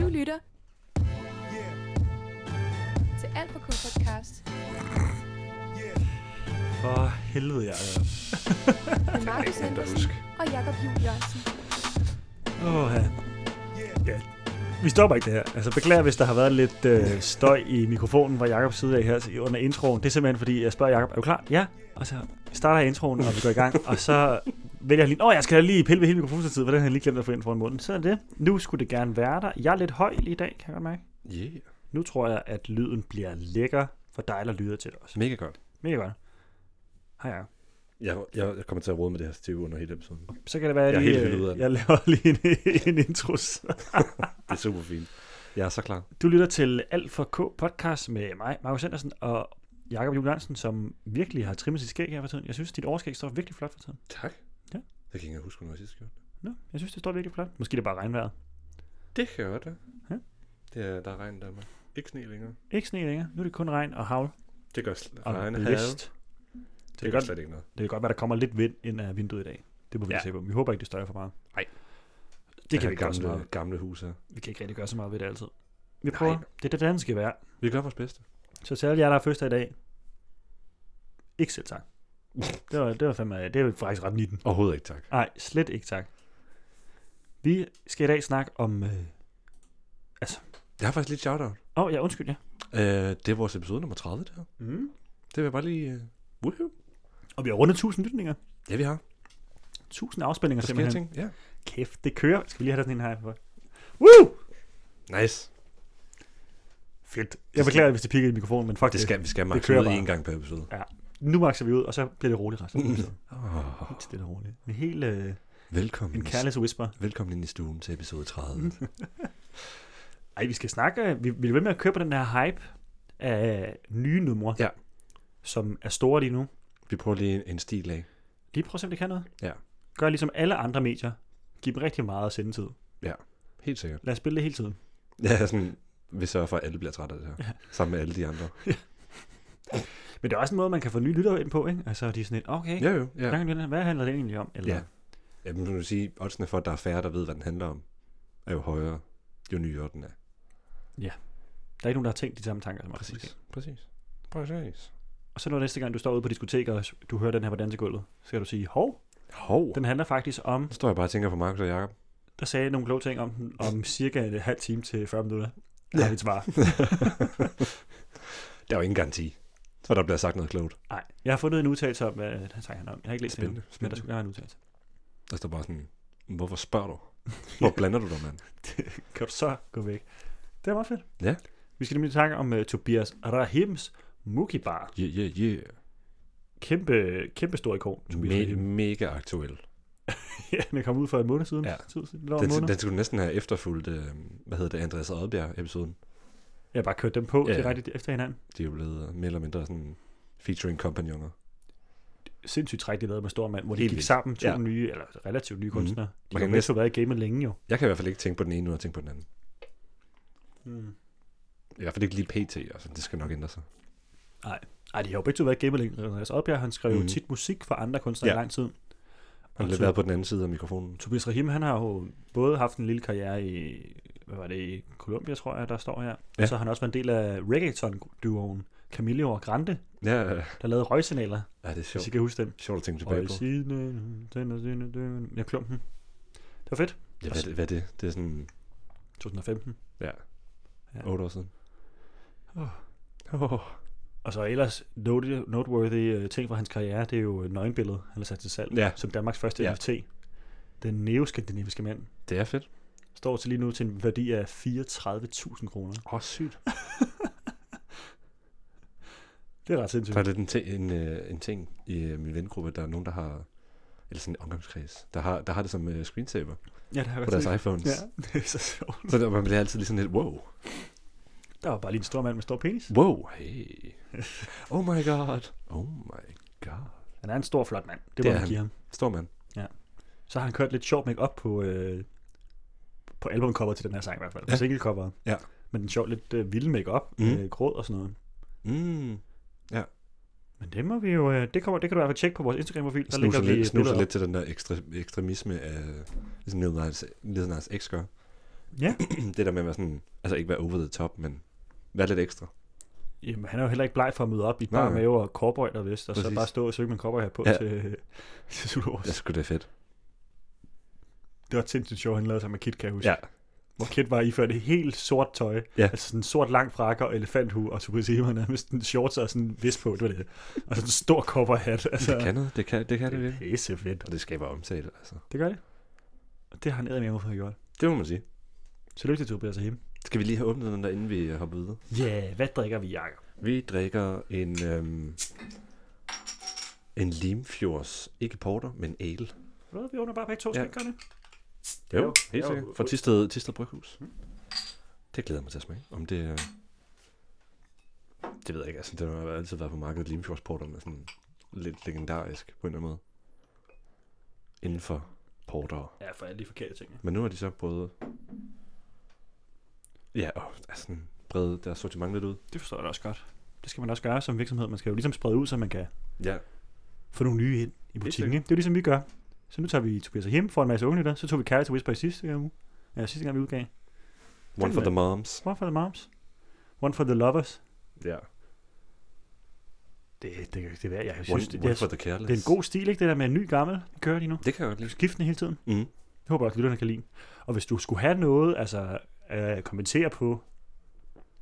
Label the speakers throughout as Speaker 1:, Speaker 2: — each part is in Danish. Speaker 1: lytter til Alt for K podcast.
Speaker 2: For helvede, jeg er. altså.
Speaker 1: Med Markus
Speaker 3: nemt at
Speaker 1: Henderson
Speaker 3: huske.
Speaker 1: og Jakob Juhl Jørgensen.
Speaker 2: Åh, ja. ja. Vi stopper ikke det her. Altså, beklager, hvis der har været lidt øh, støj i mikrofonen fra Jakobs side af her under introen. Det er simpelthen, fordi jeg spørger Jakob, er du klar? Ja. Og så starter jeg introen, og vi går i gang. Og så vælger han lige, åh, jeg skal da lige pille ved hele mikrofonen for den har jeg lige glemt at få ind foran munden. Så er det. Nu skulle det gerne være der. Jeg er lidt høj lige i dag, kan jeg godt mærke.
Speaker 3: Yeah,
Speaker 2: Nu tror jeg, at lyden bliver lækker for dig, der lyder til det også.
Speaker 3: mega godt.
Speaker 2: Mega godt. Hej, Jacob.
Speaker 3: Jeg, jeg, jeg kommer til at rode med det her stiv under hele episoden.
Speaker 2: Så kan det være, at
Speaker 3: Jeg
Speaker 2: jeg,
Speaker 3: er
Speaker 2: lige,
Speaker 3: helt vildt ud af
Speaker 2: jeg,
Speaker 3: den.
Speaker 2: jeg laver lige en, en intros.
Speaker 3: Det er super fint. Jeg er så klar.
Speaker 2: Du lytter til Alt for K podcast med mig, Markus Andersen og Jakob Juhl Jørgensen, som virkelig har trimmet sit skæg her for tiden. Jeg synes, dit overskæg står virkelig flot for tiden.
Speaker 3: Tak.
Speaker 2: Ja.
Speaker 3: Jeg kan ikke engang huske, hvornår jeg sidst gjorde det.
Speaker 2: Nå, jeg synes, det står virkelig flot. Måske det er bare regnvejret.
Speaker 3: Det kan jeg godt, da.
Speaker 2: Ja.
Speaker 3: Det er, der er regn i Danmark. Ikke sne længere.
Speaker 2: Ikke sne længere. Nu er det kun regn og havl
Speaker 3: Det gør sl-
Speaker 2: og
Speaker 3: regn.
Speaker 2: blæst.
Speaker 3: Det,
Speaker 2: Det er
Speaker 3: gør
Speaker 2: godt,
Speaker 3: slet ikke noget.
Speaker 2: det kan godt være, der kommer lidt vind ind af vinduet i dag. Det må vi ja.
Speaker 3: Ja.
Speaker 2: se på. Vi håber ikke, det støjer for meget.
Speaker 3: Nej.
Speaker 2: Det kan
Speaker 3: er
Speaker 2: vi ikke gøre så meget.
Speaker 3: gamle, gamle hus her.
Speaker 2: Vi kan ikke rigtig gøre så meget ved det altid. Vi
Speaker 3: Nej.
Speaker 2: prøver. Det er det, den skal være.
Speaker 3: Vi gør vores bedste.
Speaker 2: Så til alle jer, der er første i dag. Ikke selv tak. Det var, det var fandme, det var faktisk ret 19.
Speaker 3: Overhovedet ikke, tak.
Speaker 2: Nej, slet ikke tak. Vi skal i dag snakke om... Åh, øh... altså.
Speaker 3: Jeg har faktisk lidt shout-out.
Speaker 2: oh, ja, undskyld, ja.
Speaker 3: Øh, det er vores episode nummer 30, det her.
Speaker 2: Mm.
Speaker 3: Det vil jeg bare lige... Uh, woohoo.
Speaker 2: Og vi har rundet 1000 lytninger.
Speaker 3: Ja, vi har.
Speaker 2: 1000 afspændinger
Speaker 3: Der sker
Speaker 2: simpelthen.
Speaker 3: ting. Ja.
Speaker 2: Kæft, det kører. Skal vi lige have sådan en her for? Woo!
Speaker 3: Nice.
Speaker 2: Fedt. Jeg beklager, hvis det pikker i mikrofonen, men fuck
Speaker 3: Det skal, vi skal
Speaker 2: det
Speaker 3: makse
Speaker 2: kører
Speaker 3: ud
Speaker 2: bare.
Speaker 3: en gang per episode.
Speaker 2: Nu makser vi ud, og så bliver det roligt resten. af episoden.
Speaker 3: Oh,
Speaker 2: Helt stille og roligt. En helt øh,
Speaker 3: velkommen.
Speaker 2: en careless whisper.
Speaker 3: Velkommen ind i stuen til episode 30.
Speaker 2: Ej, vi skal snakke. øh, Vi, vi er ved med at køre på den her hype af nye numre,
Speaker 3: Ja.
Speaker 2: som er store lige nu.
Speaker 3: Vi prøver lige en, en stil af.
Speaker 2: Lige prøv at se, om det kan noget.
Speaker 3: Ja.
Speaker 2: Gør ligesom alle andre medier. Giv dem rigtig meget sendetid.
Speaker 3: Helt sikkert.
Speaker 2: Lad os spille det hele tiden.
Speaker 3: Ja, sådan, vi sørger for, at alle bliver trætte af det her. Ja. Sammen med alle de andre.
Speaker 2: Men det er også en måde, man kan få nye lyttere ind på, ikke? Altså, de er sådan lidt, okay,
Speaker 3: Ja, jo. Ja.
Speaker 2: ja. hvad handler det egentlig om? Eller,
Speaker 3: ja. Jamen, du vil sige, oddsene for, at der er færre, der ved, hvad den handler om, er jo højere, jo nyere den er.
Speaker 2: Der er ikke nogen, der har tænkt de samme tanker som os. måske.
Speaker 3: Præcis. Præcis. Præcis.
Speaker 2: Og så når næste gang, du står ude på diskoteket, og du hører den her på dansegulvet, så skal du sige, hov,
Speaker 3: Hov. Den...
Speaker 2: den handler faktisk om,
Speaker 3: Nu står jeg bare og tænker på Markus og Jacob.
Speaker 2: der sagde nogle kloge ting om den, om cirka en halv time til 40 minutter. Der har
Speaker 3: Ja.
Speaker 2: vi et svar.
Speaker 3: Der er jo ingen garanti, for der bliver sagt noget klogt.
Speaker 2: Nej, jeg har fundet en udtalelse om, hvad han sang han om. Jeg har ikke læst det endnu,
Speaker 3: Spændende.
Speaker 2: men der
Speaker 3: Spændende.
Speaker 2: skulle gerne være en udtalelse.
Speaker 3: Der står bare sådan, hvorfor spørger du? Hvor blander du dig, mand?
Speaker 2: Kan du så gå væk? Det er meget fedt.
Speaker 3: Ja.
Speaker 2: Vi skal nemlig snakke om uh, Tobias Rahims Mookie Bar.
Speaker 3: Yeah, yeah, yeah.
Speaker 2: Kæmpe, kæmpe stor ikon, Tobias
Speaker 3: Me-
Speaker 2: Rahim.
Speaker 3: mega aktuel.
Speaker 2: Ja, den er kommet ud for en måned siden.
Speaker 3: Ja.
Speaker 2: Tid siden, eller en måned.
Speaker 3: Den, den skulle næsten have efterfulgt, øh, hvad hedder det, Andreas Oddbjerg-episoden.
Speaker 2: Jeg har bare kørt dem på ja.
Speaker 3: Ja.
Speaker 2: direkte efter hinanden.
Speaker 3: De er jo blevet øh, mere eller mindre sådan featuring kompagnoner.
Speaker 2: Sindssygt træk, de lavede med Stormand, hvor de
Speaker 3: Helt
Speaker 2: gik
Speaker 3: vildt.
Speaker 2: sammen to ja.
Speaker 3: Ja. Mhm.
Speaker 2: nye, eller relativt nye kunstnere. Mm. De
Speaker 3: Man
Speaker 2: har
Speaker 3: kan
Speaker 2: jo næsten været i gamet længe jo.
Speaker 3: Jeg kan i hvert fald ikke tænke på den ene, uden at tænke på den anden.
Speaker 2: Mm.
Speaker 3: I hvert fald ikke lige pt. Altså, det skal nok ændre sig.
Speaker 2: Ej, de har jo begge to været i gamet længe. Andreas Oddbjerg, han skrev mm.
Speaker 3: Mhm.
Speaker 2: tit musik for andre kunstnere ja.
Speaker 3: Ja.
Speaker 2: i lang tid.
Speaker 3: Han har
Speaker 2: Og
Speaker 3: lidt
Speaker 2: to-
Speaker 3: været på den anden side af mikrofonen.
Speaker 2: Tobias Rahim, han har jo både haft en lille karriere i, hvad var det, i Colombia, tror jeg, der står her. Ja.
Speaker 3: Ja.
Speaker 2: Og så har han også været en del af reggaeton-duoen Camillo og Grande,
Speaker 3: Ja, ja,
Speaker 2: der lavede røgsignaler,
Speaker 3: ja, det er
Speaker 2: hvis I
Speaker 3: sjovt.
Speaker 2: kan huske den.
Speaker 3: Sjovt at tænke tilbage på.
Speaker 2: Røgsignaler, tænder sine døren. Ja, klumpen. Det var fedt.
Speaker 3: Ja, hvad, er det- hvad er det? Det er sådan
Speaker 2: 2015.
Speaker 3: ja,
Speaker 2: Ja.
Speaker 3: 8 år siden.
Speaker 2: Åh.
Speaker 3: Oh.
Speaker 2: Og så ellers note- noteworthy øh, ting fra hans karriere, det er jo et nøgenbillede, han har sat til salg,
Speaker 3: Ja.
Speaker 2: som Danmarks første
Speaker 3: Ja.
Speaker 2: NFT. Den neoskandinaviske mand
Speaker 3: Det er fedt.
Speaker 2: står til lige nu til en værdi af 34.000 kroner.
Speaker 3: Åh, oh, sygt.
Speaker 2: Det er ret sindssygt.
Speaker 3: Der er lidt en, ti- en, øh, en ting i øh, min vengruppe, der er nogen, der har eller sådan en omgangskreds, der har, der har det som uh, screensaver
Speaker 2: Ja, det har jeg
Speaker 3: på
Speaker 2: godt
Speaker 3: deres
Speaker 2: set.
Speaker 3: iPhones.
Speaker 2: Ja, det er så sjovt.
Speaker 3: Så der, man bliver altid lige sådan lidt, wow,
Speaker 2: Der var bare lige en stor mand med stor penis.
Speaker 3: wow, hey, oh my god, oh my god.
Speaker 2: Han er en stor, flot mand. Det,
Speaker 3: Det
Speaker 2: må
Speaker 3: er
Speaker 2: man
Speaker 3: han.
Speaker 2: give ham.
Speaker 3: Står man?
Speaker 2: Så har han kørt lidt sjov make-up på, øh, på albumcover til den her sang i hvert fald. På ja. singlecover.
Speaker 3: Ja.
Speaker 2: Men den sjov lidt øh, vilde make-up. Mm.
Speaker 3: Mm.
Speaker 2: Øh, gråd og sådan noget.
Speaker 3: Mm.
Speaker 2: Men det må vi jo... Øh, det, kommer, det kan du i hvert fald tjekke på vores Instagram-profil. Der
Speaker 3: snuser,
Speaker 2: lægger vi
Speaker 3: lidt, snuser
Speaker 2: billeder
Speaker 3: lidt til den der ekstre, ekstremisme af ligesom Nederlands, Nederlands eks gør.
Speaker 2: Ja.
Speaker 3: det der med at være sådan, altså ikke være over the top, men være lidt ekstra.
Speaker 2: Jamen, han er jo heller ikke bleg for at møde op i
Speaker 3: Nej,
Speaker 2: bare
Speaker 3: nej.
Speaker 2: mave og cowboy der vest, og så
Speaker 3: Præcis.
Speaker 2: bare stå og søge med en cowboy her på
Speaker 3: Ja.
Speaker 2: til, øh, til Zulus.
Speaker 3: Jeg skulle det er fedt.
Speaker 2: Det var et sindssygt sjovt, han lavede sammen med Kit, kan jeg huske.
Speaker 3: Ja,
Speaker 2: Hvor Kit var iført et helt sort tøj.
Speaker 3: Ja.
Speaker 2: Altså sådan en sort lang frakke og elefanthue, og så kunne se, han havde nærmest en shorts og sådan en vest på, det var det. Og sådan en stor cowboyhat. Altså,
Speaker 3: det kan noget. Det kan det, kan det
Speaker 2: det er
Speaker 3: virkelig.
Speaker 2: pisse fedt.
Speaker 3: Og det skaber omtale, altså.
Speaker 2: Det gør det. Og det har han eddermame for at gjort.
Speaker 3: Det må man sige.
Speaker 2: Tillykke til Tobias og ham.
Speaker 3: Skal vi lige have åbnet den der, inden vi øh, hopper videre?
Speaker 2: Ja, yeah, hvad drikker vi, Jacob?
Speaker 3: Vi drikker en, øhm, en Limfjords, ikke porter, men ale.
Speaker 2: Hvad vi åbner bare begge to
Speaker 3: Ja.
Speaker 2: ja. skænkerne?
Speaker 3: Jo,
Speaker 2: Jo,
Speaker 3: jo Mm. helt
Speaker 2: jo.
Speaker 3: sikkert. Fra Tisted, Tisted Bryghus. Det glæder jeg mig til at smage. Om det, øh, det ved jeg ikke. Altså, det har jo altid været på markedet. Limfjordsporteren er sådan lidt legendarisk på en eller anden måde. Inden for porter.
Speaker 2: Ja, for alle de forkerte ting. ja.
Speaker 3: Men nu har de så både... Ja, og altså, sådan bredt deres sortiment lidt ud.
Speaker 2: Det forstår jeg da også godt. Det skal man også gøre som virksomhed. Man skal jo ligesom sprede ud, så man kan
Speaker 3: Ja,
Speaker 2: få nogle nye ind i butikken.
Speaker 3: sikkert.
Speaker 2: ikke? Det er jo ligesom vi gør. Så nu tager vi Tobias og hjem for en masse unge der. Så tog vi Carrie til Whisper i sidste gang, uge. ja, sidste gang vi udgav.
Speaker 3: one for
Speaker 2: er-
Speaker 3: the moms.
Speaker 2: One for the moms. One for the lovers.
Speaker 3: Ja,
Speaker 2: Det, det, det, det, jeg
Speaker 3: one,
Speaker 2: synes, det,
Speaker 3: one
Speaker 2: det,
Speaker 3: for
Speaker 2: er,
Speaker 3: the careless.
Speaker 2: det er en god stil, ikke? Det der med en ny gammel, vi kører lige nu.
Speaker 3: Det kan jeg godt lide.
Speaker 2: Skiftende hele tiden.
Speaker 3: Mm.
Speaker 2: Det håber jeg også, lytterne kan lide. Og hvis du skulle have noget, altså øh, kommentere på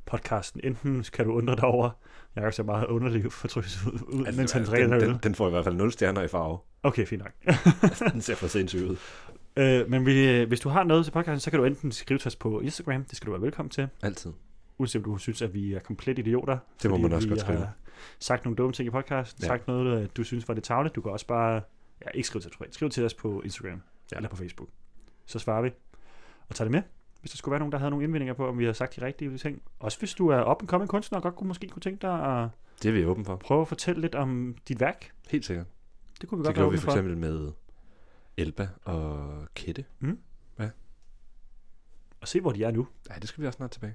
Speaker 2: podcasten, enten kan du undre dig over, jeg ser meget underlig fortrys ud, ud altså, mens han drikker den,
Speaker 3: den, den, den, får i hvert fald 0 stjerner i farve.
Speaker 2: Okay, fint nok.
Speaker 3: Den ser for sindssygt ud.
Speaker 2: øh, men vi, øh, hvis du har noget til podcasten, så kan du enten skrive til os på Instagram, det skal du være velkommen til,
Speaker 3: Altid.
Speaker 2: uanset om du synes, at vi er komplet idioter.
Speaker 3: Det må
Speaker 2: fordi
Speaker 3: man også
Speaker 2: vi
Speaker 3: godt
Speaker 2: har
Speaker 3: skrive.
Speaker 2: sagt nogle dumme ting i podcasten, ja.
Speaker 3: Ja.
Speaker 2: sagt noget, øh, du synes var det tavle. Du kan også bare, ja, ikke skrive til os, privat. skriv til os på Instagram ja.
Speaker 3: Ja.
Speaker 2: eller på Facebook. Så svarer vi og tager det med. Hvis der skulle være nogen, der havde nogle indvendinger på, om vi har sagt de rigtige ting. Også hvis du er op kommende kunstner og godt kunne, måske kunne tænke dig at
Speaker 3: Det er vi åbne for.
Speaker 2: prøve at fortælle lidt om dit værk.
Speaker 3: Helt sikkert.
Speaker 2: Det kunne vi
Speaker 3: Det
Speaker 2: godt være
Speaker 3: gjorde vi
Speaker 2: åbne
Speaker 3: for
Speaker 2: for.
Speaker 3: eksempel med Elba og Kette.
Speaker 2: Og se, hvor de er nu.
Speaker 3: Ja, det skal vi også snart tilbage.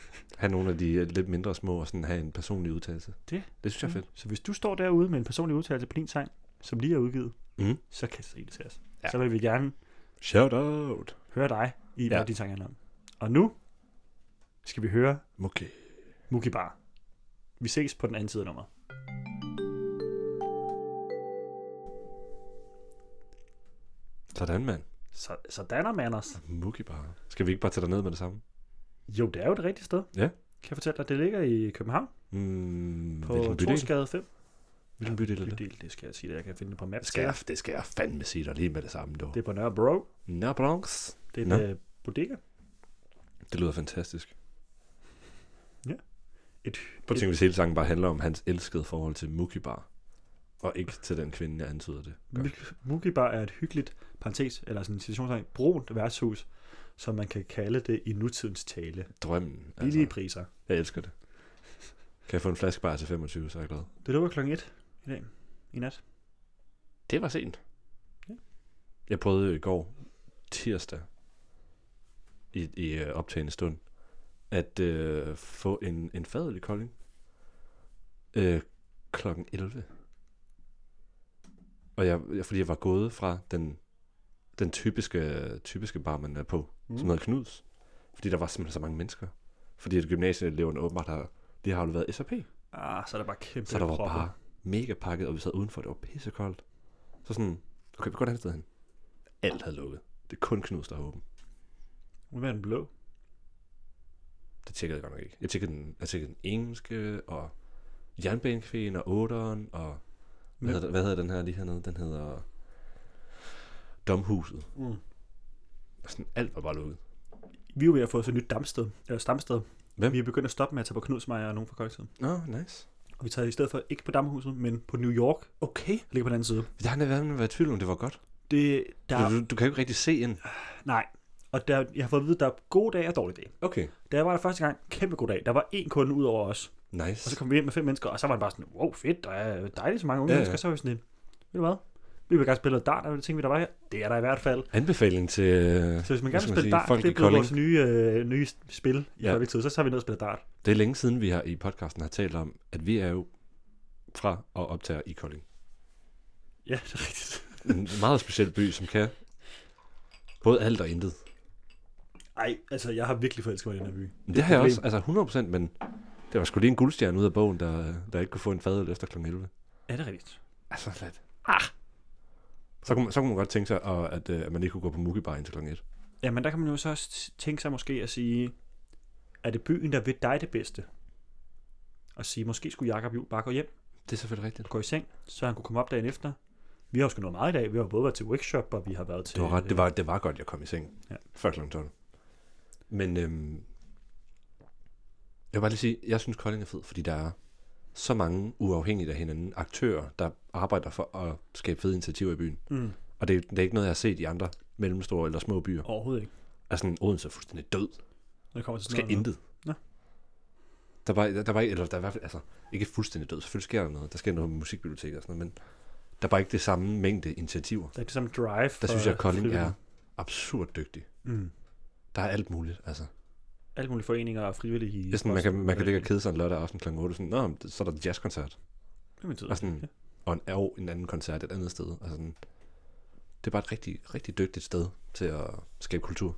Speaker 3: Have nogle af de øh, lidt mindre små og sådan have en personlig udtalelse.
Speaker 2: Det-
Speaker 3: det Mm. synes jeg er fedt.
Speaker 2: Så hvis du står derude med en personlig udtalelse på din sang, som lige er udgivet,
Speaker 3: Mm.
Speaker 2: så kan du se det til os. Ja.
Speaker 3: Ja.
Speaker 2: Så vil vi gerne
Speaker 3: Shout out!
Speaker 2: høre dig i, hvad
Speaker 3: Ja.
Speaker 2: din sang handler om. Og nu skal vi høre
Speaker 3: Okay.
Speaker 2: Mugi Bar. Vi ses på den anden side af nummeret.
Speaker 3: Sådan, mand.
Speaker 2: Så, sådan er Manners.
Speaker 3: Mookie bare. Skal vi ikke bare tage dig ned med det samme?
Speaker 2: Jo, det er jo det rigtige sted.
Speaker 3: Ja.
Speaker 2: Kan jeg fortælle dig, det ligger i København
Speaker 3: Mm,
Speaker 2: på
Speaker 3: hvilken bydel?
Speaker 2: Torsgade 5.
Speaker 3: Hvilken bydel er det?
Speaker 2: Bydel, det skal jeg sige dig. Jeg kan finde det på maps.
Speaker 3: Skal jeg, det skal jeg fandme sige dig lige med det samme, dog.
Speaker 2: Det er på Nørrebro.
Speaker 3: Nå, Bronx.
Speaker 2: Det er
Speaker 3: Nå.
Speaker 2: en øh, bodega.
Speaker 3: Det lyder fantastisk.
Speaker 2: Et,
Speaker 3: Prøv at tænke, hvis hele sangen bare handler om hans elskede forhold til Mookie Bar. Og ikke til den kvinde, jeg antyder det. Gør.
Speaker 2: et Mugi Bar er et hyggeligt, parentes, eller sådan en situationstegn, brunt værtshus, som man kan kalde det i nutidens tale.
Speaker 3: Altså. Drømmen.
Speaker 2: Billige priser.
Speaker 3: Jeg elsker det. Kan jeg få en flaske bare til 25, så er jeg glad.
Speaker 2: Det lukker klokken 1 i dag. I nat.
Speaker 3: Det var sent.
Speaker 2: Ja.
Speaker 3: Jeg prøvede i går, tirsdag, i, i øh, optagende stund, at øh, få en, en fadøl i Kolding øh, klokken 11. Og jeg, jeg, fordi jeg var gået fra den, den typiske, typiske bar, man er på, mm. som hedder Knuds. Fordi der var simpelthen så mange mennesker. Fordi at gymnasieeleverne åbenbart har, de har afleveret SAP.
Speaker 2: Ah, så er der bare kæmpe
Speaker 3: Så der var
Speaker 2: propper.
Speaker 3: bare mega pakket, og vi sad udenfor, det var pissekoldt. Så sådan, okay, vi går et andet sted hen. Alt havde lukket. Det er kun Knuds, der er åben.
Speaker 2: Hvad er den blå?
Speaker 3: Det tjekkede jeg godt nok ikke. Jeg tjekkede den, jeg tjekkede den engelske, og jernbanekvæen, og otteren, og hvad,
Speaker 2: Men-
Speaker 3: hedder, hvad hedder den her lige hernede? Den hedder Domhuset.
Speaker 2: Mm.
Speaker 3: Og Sådan, alt var bare lukket.
Speaker 2: Vi er jo ved at få os et nyt damsted, eller stamsted.
Speaker 3: Hvem?
Speaker 2: Vi er begyndt at stoppe med at tage på Knudsmeier og nogen fra kollektivet.
Speaker 3: Nå, oh, nice.
Speaker 2: Og vi tager i stedet for ikke på Damhuset, men på New York, der
Speaker 3: Okay.
Speaker 2: ligger på den anden side.
Speaker 3: Jeg har nemlig været i tvivl om, det var godt.
Speaker 2: Det, der,
Speaker 3: Ja. Du, du, kan jo ikke rigtig se ind.
Speaker 2: nej. Og der, jeg har fået at vide, at der er gode dage og dårlige dage.
Speaker 3: Okay.
Speaker 2: Da jeg var der første gang, kæmpe god dag. Der var én kunde ud over os.
Speaker 3: Nice.
Speaker 2: Og så kom vi ind med fem mennesker, og så var det bare sådan, wow, fedt, der er dejligt så mange unge
Speaker 3: Ja,
Speaker 2: ja,
Speaker 3: ja.
Speaker 2: mennesker. Så var vi sådan lidt, ved du hvad? Vi vil gerne spille noget dart, og det tænkte vi, der var her. Det er der i hvert fald.
Speaker 3: Anbefaling til... øh,
Speaker 2: Så hvis man gerne
Speaker 3: hvad skal
Speaker 2: vil spille
Speaker 3: sige,
Speaker 2: dart,
Speaker 3: folk
Speaker 2: det
Speaker 3: i
Speaker 2: er blevet
Speaker 3: Kolding.
Speaker 2: vores nye, øh, nye spil i ja.
Speaker 3: Ja.
Speaker 2: kollektivet, så tager vi ned og spiller dart.
Speaker 3: Det er længe siden, vi har i podcasten har talt om, at vi er jo fra og optager i Kolding.
Speaker 2: Ja, det er rigtigt.
Speaker 3: En meget speciel by, som kan både alt og intet.
Speaker 2: Ej, altså, jeg har virkelig forelsket mig i den her by.
Speaker 3: Men det har jeg også, altså 100%, men det var sgu lige en guldstjerne ud af bogen, der, der ikke kunne få en fadøl efter kl. 11.
Speaker 2: Er det rigtigt?
Speaker 3: Altså slet. Ah! Så kunne, man, så kunne man godt tænke sig, og at, øh, at man ikke kunne gå på Mugibar indtil kl. 1.
Speaker 2: Ja, men der kan man jo så også tænke sig måske at sige, er det byen, der ved dig det bedste? Og sige, måske skulle Jacob jo bare gå hjem
Speaker 3: Det er selvfølgelig rigtigt.
Speaker 2: og gå i seng, så han kunne komme op dagen efter. Vi har jo sgu noget meget i dag. Vi har jo både været til workshop, og vi har været til...
Speaker 3: Du har ret, det var, det var godt, jeg kom i seng
Speaker 2: Ja.
Speaker 3: ja. før kl. 12. Men øhm, jeg vil bare lige sige, jeg synes Kolding er fed, fordi der er så mange uafhængige af hinanden aktører, der arbejder for at skabe fede initiativer i byen.
Speaker 2: Mm,
Speaker 3: Og det, er- det er ikke noget, jeg har set i andre mellemstore eller små byer.
Speaker 2: overhovedet ikke.
Speaker 3: Altså, sådan, Odense er fuldstændig død.
Speaker 2: Når det kommer til
Speaker 3: Der sker
Speaker 2: sådan noget.
Speaker 3: intet.
Speaker 2: Nå.
Speaker 3: Der var, der, der var ikke, eller der er i hvert fald, altså, ikke fuldstændig død. Selvfølgelig sker der noget. Der sker noget med musikbibliotek og sådan noget, men der var ikke det samme mængde initiativer.
Speaker 2: Der er det samme drive.
Speaker 3: Der
Speaker 2: for
Speaker 3: synes jeg, at Kolding er
Speaker 2: frivillige.
Speaker 3: absurd dygtig.
Speaker 2: Mm.
Speaker 3: Der er alt muligt, altså.
Speaker 2: Alle mulige foreninger og frivillige...
Speaker 3: Det er sådan, man, kan, man kan ligge og kede sig en lørdag aften kl. 8, sådan, Nå, men det- så er der en jazzkoncert,
Speaker 2: Det er min tid.
Speaker 3: og sådan-
Speaker 2: Ja.
Speaker 3: og en, og en anden koncert et andet sted. Og sådan. Det er bare et rigtig, rigtig dygtigt sted til at skabe kultur.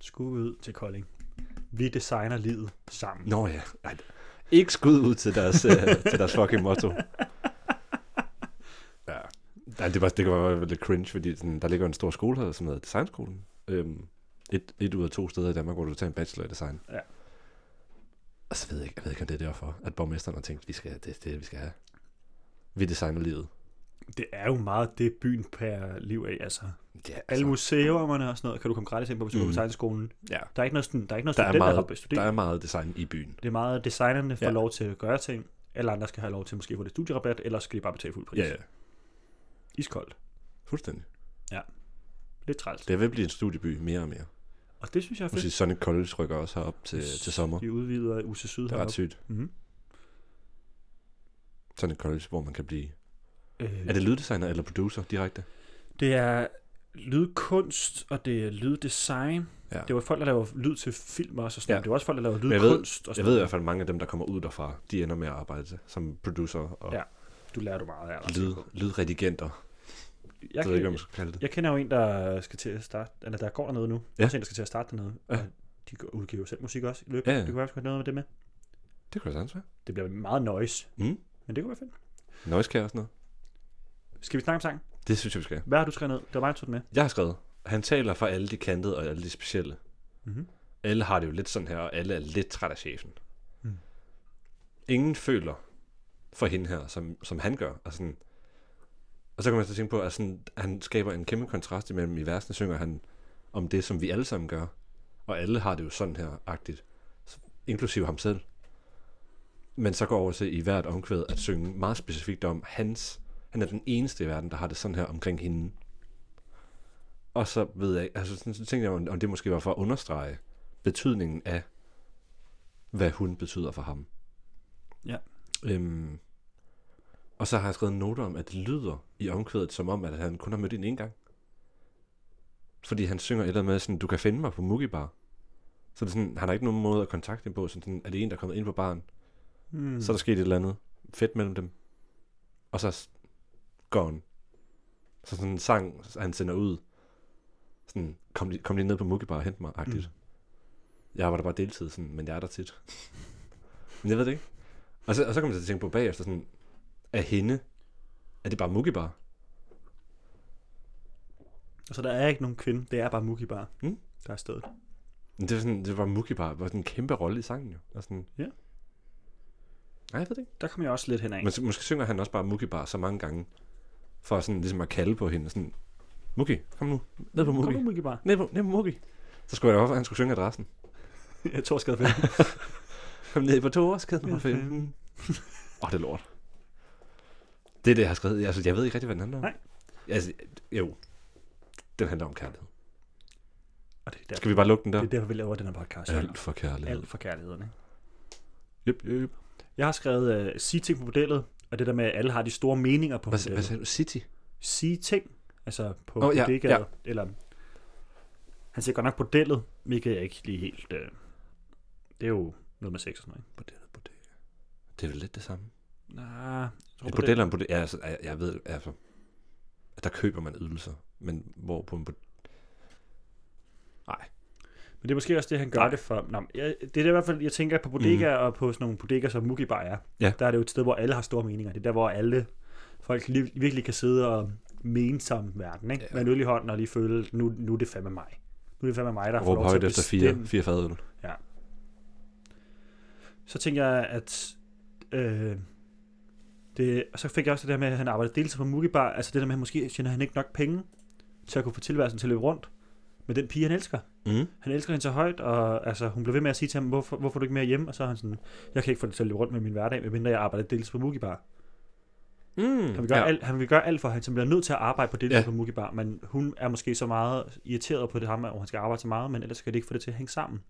Speaker 2: Skud ud til Kolding. Vi designer livet sammen.
Speaker 3: Nå ja, Ej, ikke skud ud til deres, øh, til deres fucking motto. Ja. Ej, det, var, det var lidt cringe, fordi sådan, der ligger en stor skole her, som hedder Designskolen. Øhm, et, et ud af to steder i Danmark, hvor du tager en bachelor i design.
Speaker 2: Ja.
Speaker 3: Og så ved jeg, ikke- jeg ved ikke, om det er derfor, at borgmesteren har tænkt, vi skal, det er det, vi skal have. Vi designer livet.
Speaker 2: Det er jo meget det, byen per liv af. Altså,
Speaker 3: Ja, altså,
Speaker 2: alle museerne og sådan noget, kan du komme gratis ind på, hvis du
Speaker 3: Mm.
Speaker 2: går på tegnskolen.
Speaker 3: ja.
Speaker 2: Der er ikke noget, sådan, der er ikke noget
Speaker 3: Der er,
Speaker 2: studenter, der,
Speaker 3: meget,
Speaker 2: der,
Speaker 3: der
Speaker 2: studere.
Speaker 3: er meget design i byen.
Speaker 2: Det er meget, designerne får
Speaker 3: Ja.
Speaker 2: lov til at gøre ting. Alle andre skal have lov til måske at få lidt studierabat, eller skal de bare betale fuld pris.
Speaker 3: Ja, ja.
Speaker 2: Iskoldt.
Speaker 3: Fuldstændig.
Speaker 2: Lidt træls.
Speaker 3: Det er ved at blive en studieby mere og mere.
Speaker 2: Og det synes jeg er fedt.
Speaker 3: Måske Sonic College rykker også herop til, til sommer.
Speaker 2: De udvider UC Syd
Speaker 3: Det er ret
Speaker 2: heroppe.
Speaker 3: sygt.
Speaker 2: Mhm.
Speaker 3: Sådan et college, hvor man kan blive...
Speaker 2: Øh,
Speaker 3: Er det lyddesigner eller producer direkte?
Speaker 2: det er lydkunst, og det er lyddesign.
Speaker 3: Ja.
Speaker 2: Det var folk, der laver lyd til film også. Og sådan.
Speaker 3: Ja.
Speaker 2: noget. Det var også folk, der laver
Speaker 3: jeg ved-
Speaker 2: lydkunst. og sådan
Speaker 3: Jeg ved i
Speaker 2: noget.
Speaker 3: hvert fald, at mange af dem, der kommer ud derfra, de ender med at arbejde som producer og
Speaker 2: Ja, Du lærer du meget af.
Speaker 3: lyd, lydredigenter.
Speaker 2: Jeg,
Speaker 3: Jeg ved ikke, om
Speaker 2: kan,
Speaker 3: man skal kalde det.
Speaker 2: jeg kender jo en, der skal til at starte, eller der går dernede nu. Ja.
Speaker 3: Ja.
Speaker 2: Også en, der skal til at starte dernede.
Speaker 3: Ja.
Speaker 2: Og De går- udgiver jo selv musik også i løbet. Ja,
Speaker 3: Ja,
Speaker 2: ja.
Speaker 3: ja.
Speaker 2: Det kunne være, at vi skulle have noget med det med.
Speaker 3: Det kunne jeg sagtens være.
Speaker 2: Det bliver meget noise,
Speaker 3: Mm.
Speaker 2: men det kunne være fedt.
Speaker 3: Noise og sådan noget.
Speaker 2: Skal vi snakke om sang?
Speaker 3: Det synes jeg, vi skal.
Speaker 2: Hvad har du skrevet ned? Det var mig, der tog den med.
Speaker 3: Jeg har skrevet, han taler for alle de kantede og alle de specielle.
Speaker 2: Mm-hmm.
Speaker 3: Alle har det jo lidt sådan her, og alle er lidt træt af chefen.
Speaker 2: Mm.
Speaker 3: Mm. Ingen føler for hende her, som, som han gør. Og, sådan, og så kan man så tænke på, at sådan, han skaber en kæmpe kontrast imellem i versene synger han om det, som vi alle sammen gør. Og alle har det jo sådan her, agtigt. Så- Inklusive ham selv. Men så går over til i hvert omkvæd at synge meget specifikt om hans. Han er den eneste i verden, der har det sådan her omkring hende. Og så ved jeg ikke, altså sådan, så tænkte jeg, om om det måske var for at understrege, betydningen af, hvad hun betyder for ham.
Speaker 2: Ja.
Speaker 3: Øhm, og så har jeg skrevet noter om, at det lyder i omkvædet, som om, at han kun har mødt hende en gang. Fordi han synger et eller andet med, sådan, du kan finde mig på Mugibar. Så det er sådan, han har ikke nogen måde at kontakte hende på. Sådan, sådan, er det en, der er kommet ind på baren?
Speaker 2: Mm.
Speaker 3: Mm. Så er der sket et eller andet fedt mellem dem. Og så s- gone. Så sådan en sang, han sender ud. Sådan, kom lige, kom lige ned på Mugibar og hent mig, agtigt. Mm. Jeg var der bare deltid, sådan, men jeg er der tit. men jeg ved det ikke. Og så, og så kom jeg til at tænke på bagefter, sådan, er hende, er det bare Mugibar?
Speaker 2: Altså, der er ikke nogen kvinde. Det er bare Muki bare,
Speaker 3: Mm.
Speaker 2: der er stedet.
Speaker 3: Men det var sådan, det var Mugibar, var sådan en kæmpe rolle i sangen jo. Og sådan,
Speaker 2: Ja.
Speaker 3: Nej, jeg ved det ikke.
Speaker 2: Der kommer jeg også lidt henad.
Speaker 3: Men så, måske synger han også bare Mugibar så mange gange, for sådan ligesom at kalde på hende, sådan, Mugi, kom nu, ned på
Speaker 2: Kom
Speaker 3: Mugi.
Speaker 2: nu, Muki bare.
Speaker 3: Ned på, ned på Mugi. Så skulle jeg da op, at han skulle synge adressen.
Speaker 2: jeg tror, jeg skal have
Speaker 3: Kom ned på Toreskæden nummer 15. Åh, oh, det er lort. Det er det, jeg har skrevet. Altså, jeg ved ikke rigtig, hvad den handler om.
Speaker 2: Nej.
Speaker 3: Altså, jo. Den handler om kærlighed.
Speaker 2: Og det er, derfor,
Speaker 3: Skal vi bare lukke den der?
Speaker 2: det er derfor, vi laver den her podcast.
Speaker 3: Alt for kærlighed.
Speaker 2: Alt for kærligheden, ikke?
Speaker 3: Yep, yep.
Speaker 2: Jeg har skrevet uh, sige ting på modellet, og det der med, at alle har de store meninger på
Speaker 3: Hvad, hvad
Speaker 2: modellet.
Speaker 3: sagde du? City?
Speaker 2: Sige ting, altså på oh,
Speaker 3: Åh, ja,
Speaker 2: bodegaer, ja,
Speaker 3: ja.
Speaker 2: eller... Han siger godt nok bordellet, hvilket jeg ikke lige helt... Øh, det er jo noget med sex og sådan noget,
Speaker 3: Bordellet, bordellet. Det er vel lidt det samme.
Speaker 2: ikke? Nej, jeg tror,
Speaker 3: Et
Speaker 2: bordel-
Speaker 3: bordel er en bordel. Ja, altså, jeg, jeg ved, altså, at der køber man ydelser, men hvor på en bordel...
Speaker 2: Men det er måske også det, han gør
Speaker 3: Nej.
Speaker 2: Nej. det for. Nå, men jeg, det er det i hvert fald, jeg tænker på bodegaer mm. og på sådan nogle bodegaer, som Mugi Bar er.
Speaker 3: Ja.
Speaker 2: Der er det jo et sted, hvor alle har store meninger. Det er der, hvor alle folk li- virkelig kan sidde og mene sammen med verden. Ikke?
Speaker 3: Ja.
Speaker 2: Ja. Med en øl i hånden og lige føle, nu, nu er det fandme mig. Nu er det fandme mig, der får
Speaker 3: Råb
Speaker 2: lov til at
Speaker 3: højt efter fire,
Speaker 2: bestemme.
Speaker 3: fire fadøl.
Speaker 2: Så tænker jeg, at... Øh, det, og så fik jeg også det der med, at han arbejdede deltid på Mugi Bar. Altså det der med, at måske tjener han ikke nok penge til at kunne få tilværelsen til at løbe rundt med den pige, han elsker.
Speaker 3: Mm.
Speaker 2: han elsker hende så højt, og altså, hun blev ved med at sige til ham, hvorfor, hvorfor er du ikke mere hjemme? Og så er han sådan, jeg kan ikke få det til at løbe rundt med min hverdag, medmindre jeg arbejder dels på Mugi Bar.
Speaker 3: Mm.
Speaker 2: Han vil gøre, ja. alt, han vil gøre alt for, at han simpelthen er nødt til at arbejde på det
Speaker 3: Ja.
Speaker 2: ja. på Mugi Bar, men hun er måske så meget irriteret på det ham, at han skal arbejde så meget, men ellers kan det ikke få det til at hænge sammen.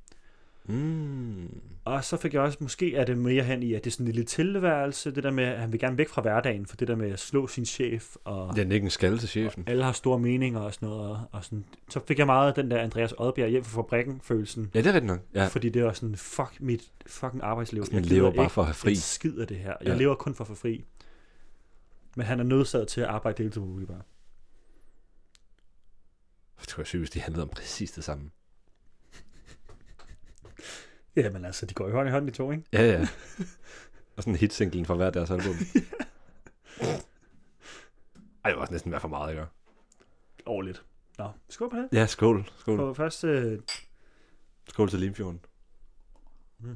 Speaker 3: Mm.
Speaker 2: Og så fik jeg også, måske er det mere hen i, at det er sådan en lille tilværelse, det der med, at han vil gerne væk fra hverdagen, for det der med at slå sin chef, og
Speaker 3: Det er ikke en skalle til chefen.
Speaker 2: alle har store meninger og sådan noget. Og, og sådan. Så fik jeg meget af den der Andreas Odbjerg hjem fra fabrikken-følelsen.
Speaker 3: Ja, det er rigtigt nok. Ja.
Speaker 2: Ja. Fordi det var sådan, fuck mit fucking arbejdsliv.
Speaker 3: Jeg
Speaker 2: gider
Speaker 3: lever bare
Speaker 2: ikke
Speaker 3: for at have fri.
Speaker 2: en skid af det her. Jeg
Speaker 3: Ja.
Speaker 2: ja. lever kun for at få fri. Men han er nødsaget til at arbejde deltid på Mugibar.
Speaker 3: Jeg tror, jeg synes, de handlede om præcis det samme.
Speaker 2: Ja, men altså, de går jo hånd i hånd, de to, ikke?
Speaker 3: Ja, ja. og sådan en hitsinglen fra hver deres album. Ej, det var også næsten være for meget, ikke?
Speaker 2: Årligt. Nå, skål på det.
Speaker 3: Ja, skål. Skål,
Speaker 2: På første... Øh,
Speaker 3: skål til Limfjorden.
Speaker 2: Mm. jeg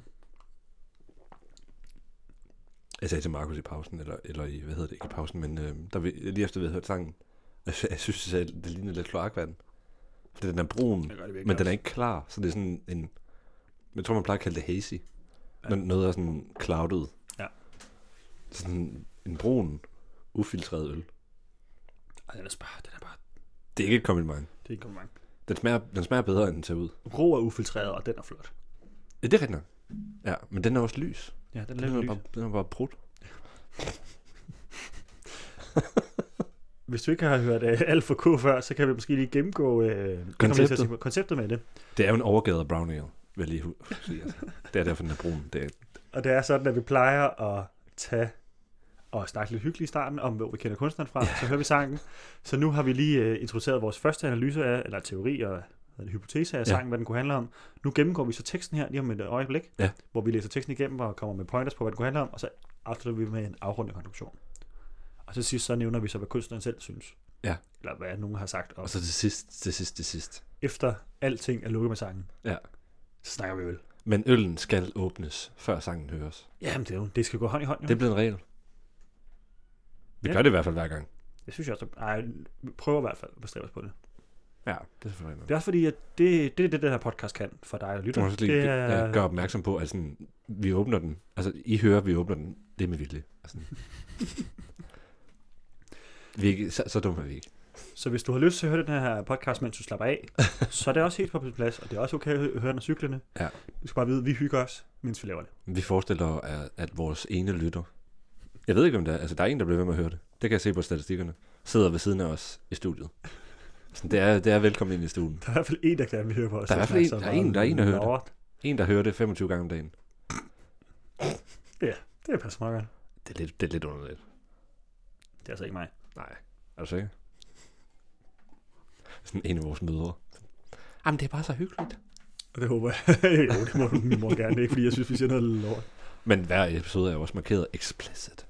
Speaker 3: Jeg sagde til Markus i pausen, eller, eller i, hvad hedder det, ikke i pausen, men øh, der, vi- lige efter vi havde hørt sangen, jeg, sy- jeg synes, jeg sagde, det ligner lidt kloakvand. Fordi den er brun,
Speaker 2: gør det virkelig
Speaker 3: men den er
Speaker 2: også.
Speaker 3: ikke klar, så det er sådan en... Jeg tror, man plejer at kalde det hazy.
Speaker 2: Ja.
Speaker 3: Når noget er sådan clouded.
Speaker 2: Ja.
Speaker 3: Sådan en brun, ufiltreret øl.
Speaker 2: Ej, den er bare... Den er bare...
Speaker 3: Det er ikke et kompliment.
Speaker 2: Det er ikke kommet mange.
Speaker 3: Den smager, den smager bedre, end den ser ud.
Speaker 2: Rå er ufiltreret, og den er flot.
Speaker 3: Ja, det er rigtigt nok. Ja, men den er også lys.
Speaker 2: Ja, den er
Speaker 3: Den er,
Speaker 2: lidt
Speaker 3: bare,
Speaker 2: lys.
Speaker 3: den er bare brudt.
Speaker 2: Hvis du ikke har hørt øh, Alfa K før, så kan vi måske lige gennemgå øh, jeg kommer lige til
Speaker 3: Konceptet.
Speaker 2: at tænke på- konceptet med det.
Speaker 3: Det er jo en overgade brown ale, vil jeg lige hu- huske at sige. Altså. Det er derfor, den er brun. Det er,
Speaker 2: Og det er sådan, at vi plejer at tage og snakke lidt hyggeligt i starten om, hvor vi kender kunstneren fra, så hører vi sangen. Så nu har vi lige uh, introduceret vores første analyse af, eller teori og hvad er det, hypotese af
Speaker 3: Ja.
Speaker 2: sangen, hvad den kunne handle om. Nu gennemgår vi så teksten her lige om et øjeblik,
Speaker 3: Ja.
Speaker 2: hvor vi læser teksten igennem og kommer med pointers på, hvad den kunne handle om, og så afslutter vi med en afrundende konklusion. Og til sidst så nævner vi så, hvad kunstneren selv synes.
Speaker 3: Ja.
Speaker 2: Eller hvad nogen har sagt. Og
Speaker 3: og så til sidst, til sidst, til sidst.
Speaker 2: efter alting er lukket med sangen,
Speaker 3: Ja.
Speaker 2: så snakker vi øl.
Speaker 3: Men øllen skal åbnes, før sangen høres.
Speaker 2: Jamen det, er jo, det skal gå hånd i hånd. Jo.
Speaker 3: Det er blevet en regel. Vi
Speaker 2: Ja.
Speaker 3: gør det i hvert fald hver gang.
Speaker 2: Det synes jeg også. Nej, vi prøver i hvert fald at bestræbe os på det.
Speaker 3: Ja, det er selvfølgelig
Speaker 2: Det er også fordi, at det, det er det, den her podcast kan for dig, der
Speaker 3: Du
Speaker 2: lytter.
Speaker 3: må også lige
Speaker 2: det er,
Speaker 3: ja, gøre opmærksom på, at sådan, vi åbner den. Altså, I hører, vi åbner den. Det er med vilje. Altså, vi er ikke, så, så dumme er vi ikke.
Speaker 2: Så hvis du har lyst til at høre den her podcast, mens du slapper af, så er det også helt på sin plads, og det er også okay at hø- høre den af cyklerne.
Speaker 3: Ja.
Speaker 2: Du skal bare vide, at vi hygger os, mens vi laver det.
Speaker 3: Vi forestiller os, at- at vores ene lytter... Jeg ved ikke, om der er... Altså, der er en, der bliver ved med at høre det. Det kan jeg se på statistikkerne. Sidder ved siden af os i studiet. Sådan, det, er, det er velkommen ind i stuen.
Speaker 2: Der er i hvert fald en, der gerne vil høre på os.
Speaker 3: Der er i hvert fald en- der er en- der er en, der hører det.
Speaker 2: det.
Speaker 3: En, der hører det 25 gange om dagen.
Speaker 2: Det passer meget godt.
Speaker 3: Det er lidt, det er lidt underligt.
Speaker 2: Det er altså ikke mig.
Speaker 3: Nej, er du sikker? Sådan en af vores mødre. Jamen, det er bare så hyggeligt.
Speaker 2: Og det håber jeg. jo, det må min mor gerne. Det er ikke, fordi jeg synes, vi siger noget lort.
Speaker 3: Men hver episode er jo også markeret explicit.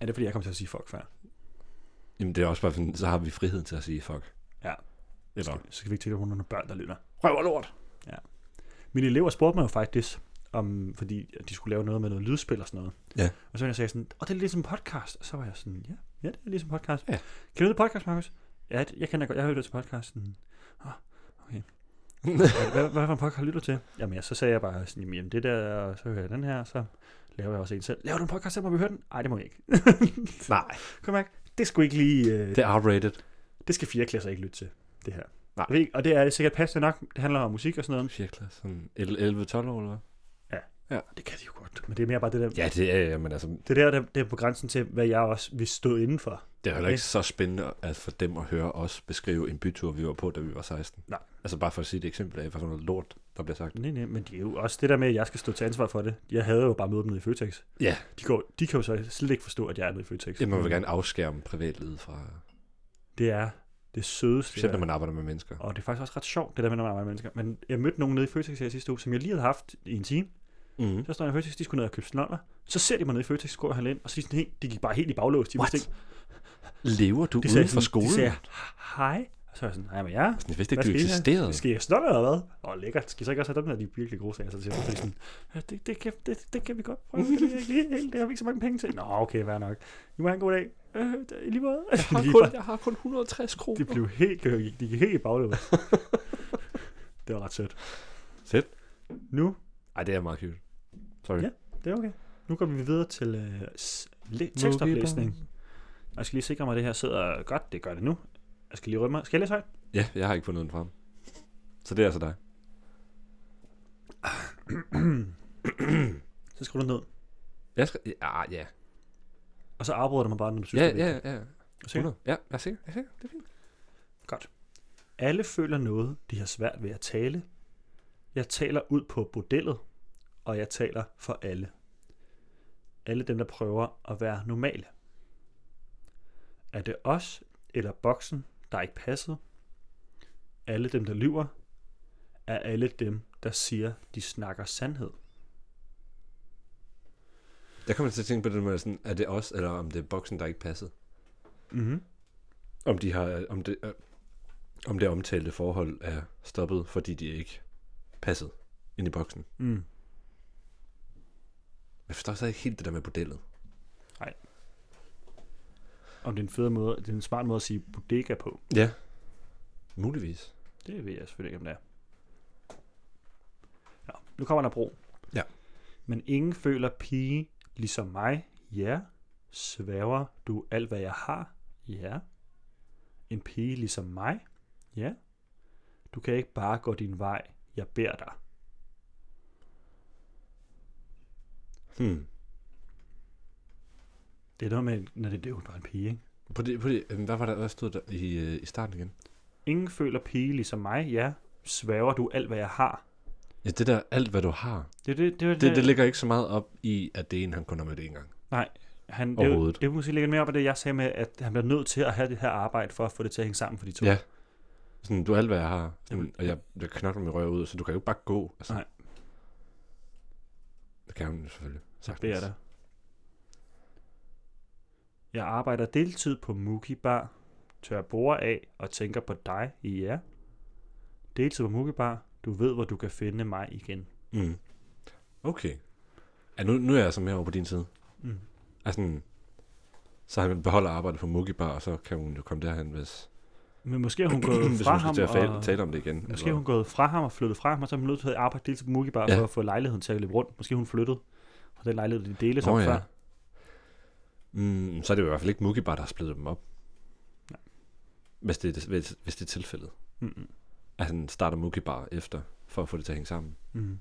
Speaker 2: Er det, fordi jeg kom til at sige fuck før?
Speaker 3: Jamen, det er også bare sådan, så har vi friheden til at sige fuck.
Speaker 2: Ja.
Speaker 3: Eller,
Speaker 2: Så skal vi ikke tænke på nogle børn, der lytter.
Speaker 3: røv og lort.
Speaker 2: Mine elever spurgte mig jo faktisk, om, fordi de skulle lave noget med noget lydspil og sådan noget.
Speaker 3: Ja.
Speaker 2: Og så var jeg sagde sådan, og det er ligesom podcast. Og så var jeg sådan, ja, ja det er ligesom podcast.
Speaker 3: Ja.
Speaker 2: Kan du lide podcast, Markus? Ja, det- jeg kender godt. Jeg hører til podcasten. Åh, okay. Hvad, hvad, hvad for en podcast lytter du til? Jamen, ja, så sagde jeg bare sådan, jamen det der, og så hører jeg den her, og så laver jeg også en selv. Laver du en podcast selv, må vi høre den? Nej, det må vi ikke.
Speaker 3: Nej,
Speaker 2: Kom her. Det skulle ikke lige... Øh,
Speaker 3: det er R-rated.
Speaker 2: det skal fire klasser ikke lytte til, det her.
Speaker 3: Nej.
Speaker 2: Jeg ved ikke, Og det er sikkert passende nok. Det handler om musik og sådan noget.
Speaker 3: Cirka sådan 11-12 år, eller hvad?
Speaker 2: Det kan de jo godt. Men det er mere bare det der
Speaker 3: Ja, det er, ja, men altså,
Speaker 2: Det der, der, det er på grænsen til, hvad jeg også vil stå indenfor.
Speaker 3: det er heller ikke så spændende at for dem at høre os beskrive en bytur, vi var på, da vi var 16.
Speaker 2: Nej.
Speaker 3: Altså bare for at sige et eksempel af, hvad for noget lort, der bliver sagt.
Speaker 2: Nej, nej, men det er jo også det der med, at jeg skal stå til ansvar for det. Jeg havde jo bare mødt dem nede i Føtex.
Speaker 3: Ja.
Speaker 2: De, går, de kan jo så slet ikke forstå, at jeg er nede i Føtex.
Speaker 3: Jamen, man vil gerne afskære dem privatlivet fra...
Speaker 2: Det er det sødeste.
Speaker 3: Specielt når
Speaker 2: jeg-
Speaker 3: man arbejder med mennesker.
Speaker 2: Og det er faktisk også ret sjovt, det der med, når man arbejder med mennesker. Men jeg mødte nogen nede i Føtex her sidste uge, som jeg lige havde haft i en time.
Speaker 3: Mm.
Speaker 2: Så står jeg i Føtex, de skulle ned og købe snoller. Så ser de mig nede i Føtex, går jeg ind, og så er de sådan helt, de gik bare helt i baglås. De
Speaker 3: What?
Speaker 2: vidste ikke.
Speaker 3: Lever du
Speaker 2: De
Speaker 3: uden for
Speaker 2: sådan-
Speaker 3: skolen?
Speaker 2: De sagde, hej. Og så er jeg sådan, nej, men ja.
Speaker 3: Jeg vidste ikke,
Speaker 2: Hvad
Speaker 3: du
Speaker 2: skal I have?
Speaker 3: eksisterede.
Speaker 2: Skal jeg snoller eller hvad? Åh, lækkert. Skal I så ikke også have dem der, de er virkelig gode sager? Så siger jeg, så er de sådan, ja, det, det, kan, det, det kan vi godt prøve. Det, er ikke helt, det har vi ikke så mange penge til. Nå, okay, vær nok. I må have en god dag. Øh, i lige måde.
Speaker 3: Jeg
Speaker 2: De
Speaker 3: har
Speaker 2: gik
Speaker 3: kun,
Speaker 2: bare-
Speaker 3: jeg har kun 160 kroner.
Speaker 2: de blev helt, de gik helt i baglås. det var ret sødt.
Speaker 3: Fedt.
Speaker 2: Nu
Speaker 3: Ej, det er meget cute. Sorry.
Speaker 2: Ja. Det er okay. Nu går vi videre til øh, s- læ- tekstoplæsning. Og jeg skal lige sikre mig, at det her sidder godt. Det gør det nu. Jeg skal lige rømme mig. Skal jeg læse højt?
Speaker 3: Ja, jeg har ikke fundet den frem. Så det er altså dig.
Speaker 2: Så skriver du ned.
Speaker 3: Jeg skal... Ja, ah, ja.
Speaker 2: Og så afbryder du mig bare, når du synes,
Speaker 3: Ja,
Speaker 2: det er
Speaker 3: ja,
Speaker 2: vigtigt.
Speaker 3: ja.
Speaker 2: Er du sikker?
Speaker 3: 100. Ja, jeg er sikker. Jeg er sikker. Det er fint.
Speaker 2: Alle føler noget, de har svært ved at tale. Jeg taler ud på bordellet, og jeg taler for alle. Alle dem, der prøver at være normale. Er det os eller boksen, der ikke passer? Alle dem, der lyver, er alle dem, der siger, de snakker sandhed.
Speaker 3: Jeg kommer til at tænke på det med, sådan, er det os, eller om det er boksen, der ikke passede?
Speaker 2: Mm-hmm.
Speaker 3: Om, de har, om, det, øh, om det omtalte forhold er stoppet, fordi de ikke passede ind i boksen.
Speaker 2: Mm.
Speaker 3: Jeg forstår så ikke helt det der med bordellet.
Speaker 2: Om det er en federe måde, det er en smart måde at sige bodega på.
Speaker 3: Ja. Muligvis.
Speaker 2: Det ved jeg selvfølgelig ikke, om det er. Nå, nu kommer der bro.
Speaker 3: Ja.
Speaker 2: Men ingen føler pige ligesom mig. Ja. Svæver du alt, hvad jeg har? Ja. En pige ligesom mig? Ja. Du kan ikke bare gå din vej. Jeg beder dig.
Speaker 3: Hmm.
Speaker 2: Det er noget med, når det er jo bare en pige, ikke?
Speaker 3: På det, på det, øhm, hvad var der, hvad stod der i, øh, i starten igen?
Speaker 2: Ingen føler pige ligesom mig. Ja. Svæver du alt, hvad jeg har?
Speaker 3: Ja, det der alt, hvad du har.
Speaker 2: Det, det, det,
Speaker 3: Det, det ligger ikke så meget op i, at det er en, han kun har mødt en gang.
Speaker 2: Han, det, er jo-
Speaker 3: Overhovedet.
Speaker 2: det er jo måske ligger mere op af det, jeg sagde med, at han bliver nødt til at have det her arbejde for at få det til at hænge sammen for de to.
Speaker 3: Ja. Sådan, du er alt, hvad jeg har, Jamen,
Speaker 2: Jamen,
Speaker 3: og jeg, jeg knokler med røv ud, så du kan jo ikke bare gå. Altså.
Speaker 2: Nej.
Speaker 3: Det kan hun jo selvfølgelig.
Speaker 2: Så beder jeg dig. Jeg arbejder deltid på Muki Bar, tør borde af og tænker på dig i jer. Deltid på Muki Bar, du ved, hvor du kan finde mig igen.
Speaker 3: Mm. Okay. Ja, nu, nu er jeg altså mere over på din side.
Speaker 2: Mm.
Speaker 3: Altså, så han beholder arbejdet på Mugi Bar, og så kan hun jo komme derhen, hvis,
Speaker 2: Men måske er hun gået
Speaker 3: hvis
Speaker 2: fra
Speaker 3: hun skal
Speaker 2: ham,
Speaker 3: til at fale,
Speaker 2: og,
Speaker 3: tale om det igen.
Speaker 2: måske er hun gået fra ham og flyttet fra ham, og så er hun nødt til at arbejde deltid på Muki Bar
Speaker 3: Ja.
Speaker 2: for at få lejligheden til at løbe rundt. Måske er hun flyttet fra den lejlighed, de deles
Speaker 3: Nå
Speaker 2: om
Speaker 3: ja.
Speaker 2: før.
Speaker 3: Mm, så er det jo i hvert fald ikke Mugi Bar, der har splittet dem op.
Speaker 2: Nej.
Speaker 3: Hvis det, er- hvis, hvis det er tilfældet.
Speaker 2: Mm-mm.
Speaker 3: At han starter Mugi Bar efter, for at få det til at hænge sammen.
Speaker 2: Mm.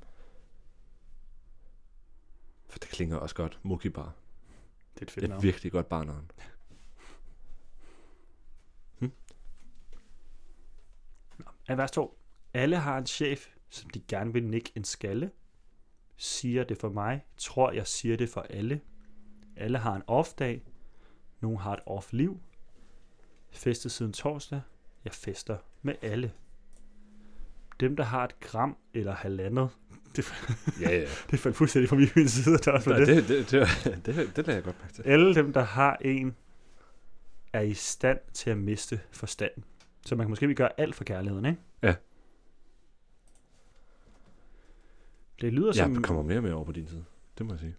Speaker 3: For det klinger også godt. Mugi Bar.
Speaker 2: Det er et
Speaker 3: Det
Speaker 2: fedt
Speaker 3: er et
Speaker 2: navn.
Speaker 3: virkelig godt barnavn.
Speaker 2: Af vers 2. Alle har en chef, som de gerne vil nikke en skalle. Siger det for mig, tror jeg siger det for alle. Alle har en off-dag. Nogen har et off-liv. Festet siden torsdag. Jeg fester med alle. Dem, der har et gram eller halvandet.
Speaker 3: Ja, ja.
Speaker 2: Det faldt fuldstændig fra min side. Der også var
Speaker 3: Nej,
Speaker 2: det.
Speaker 3: det, det, det, det, det, det lader jeg godt mærke til.
Speaker 2: Alle dem, der har en, er i stand til at miste forstanden. Så man kan måske ikke gøre alt for kærligheden, ikke?
Speaker 3: Ja.
Speaker 2: Det lyder som...
Speaker 3: Jeg kommer mere og mere over på din side. Det må jeg sige.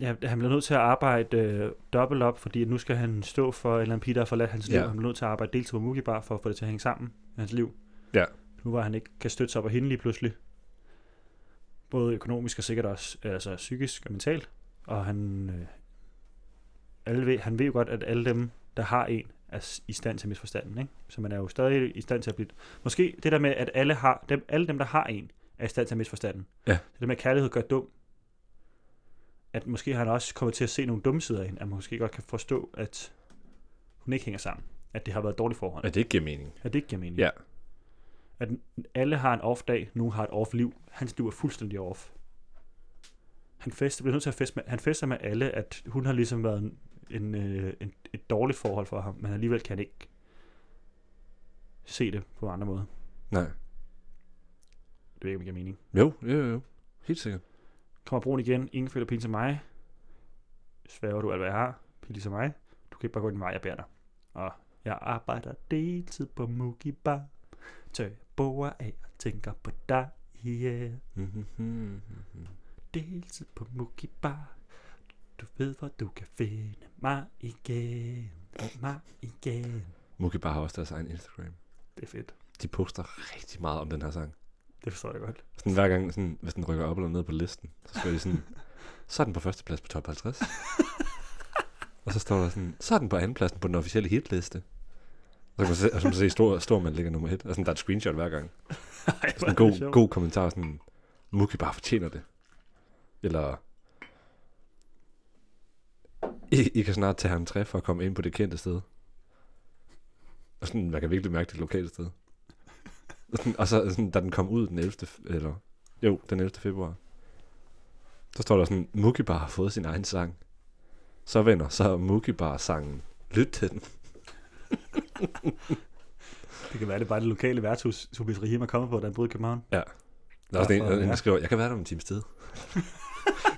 Speaker 2: Ja, han bliver nødt til at arbejde øh, dobbelt op, fordi nu skal han stå for en eller anden pige, der har forladt hans
Speaker 3: Ja.
Speaker 2: liv. Han bliver nødt til at arbejde deltid på Mugi Bar for at få det til at hænge sammen i hans liv.
Speaker 3: Ja.
Speaker 2: Nu var han ikke kan støtte sig op af hende lige pludselig. Både økonomisk og sikkert også altså psykisk og mentalt. Og han, øh, alle ved, han ved jo godt, at alle dem, der har en, er s- i stand til misforstanden. Ikke? Så man er jo stadig i stand til at blive... Måske det der med, at alle, har, dem, alle dem, der har en, er i stand til misforstanden.
Speaker 3: Ja.
Speaker 2: Det der med, at kærlighed gør dum, at måske har han også kommet til at se nogle dumme sider af hende, at man måske godt kan forstå, at hun ikke hænger sammen. At det har været et dårligt forhold.
Speaker 3: At
Speaker 2: At,
Speaker 3: det ikke giver mening.
Speaker 2: at det ikke giver mening.
Speaker 3: Ja.
Speaker 2: At alle har en off-dag, nogen har et off-liv. Hans liv er fuldstændig off. Han fester, bliver nødt til at feste med, han fester med alle, at hun har ligesom været en, en, øh, en, et dårligt forhold for ham, men alligevel kan han ikke se det på andre måder.
Speaker 3: Nej.
Speaker 2: Det ved ikke, om det giver mening.
Speaker 3: Jo, jo, jo. Helt sikkert.
Speaker 2: Kommer broen igen. Ingen føler pil til mig. Sværger du alt, hvad jeg har. Pil til mig. Du kan ikke bare gå den vej, jeg bærer dig. Og jeg arbejder deltid på Mugi Bar. Tør jeg boer af og tænker på dig. Yeah.
Speaker 3: Mm-hmm.
Speaker 2: Deltid på Mugi Bar. Du ved, hvor du kan finde mig igen. Mig igen.
Speaker 3: Mookie Bar har også deres egen Instagram.
Speaker 2: Det er fedt.
Speaker 3: De poster rigtig meget om den her sang.
Speaker 2: Det forstår jeg godt.
Speaker 3: Sådan hver gang, sådan, hvis den rykker op eller ned på listen, så skriver de sådan, så er den på førsteplads på top 50. og så står der sådan, så er den på andenpladsen på den officielle hitliste. Og så kan man se, og så kan man se stor, stor man ligger nummer 1. Og sådan, der er et screenshot hver gang.
Speaker 2: Ej,
Speaker 3: Sådan en god, god kommentar, sådan, Mookie bare fortjener det. Eller, I, I kan snart tage ham træ for at komme ind på det kendte sted. Og sådan, man kan virkelig mærke det lokale sted. Og, sådan, og så, sådan, da den kom ud den 11. f- eller, jo, den 11. februar, så står der sådan, Mookie bare har fået sin egen sang. Så venner, så er Mookie bare sangen. Lyt til den.
Speaker 2: Det kan være, det er bare det lokale værtshus, Tobias Rahim er kommet på, der er både i København.
Speaker 3: Der er også en,
Speaker 2: Derfor,
Speaker 3: en,
Speaker 2: ja.
Speaker 3: der skriver, jeg kan være der om en times tid.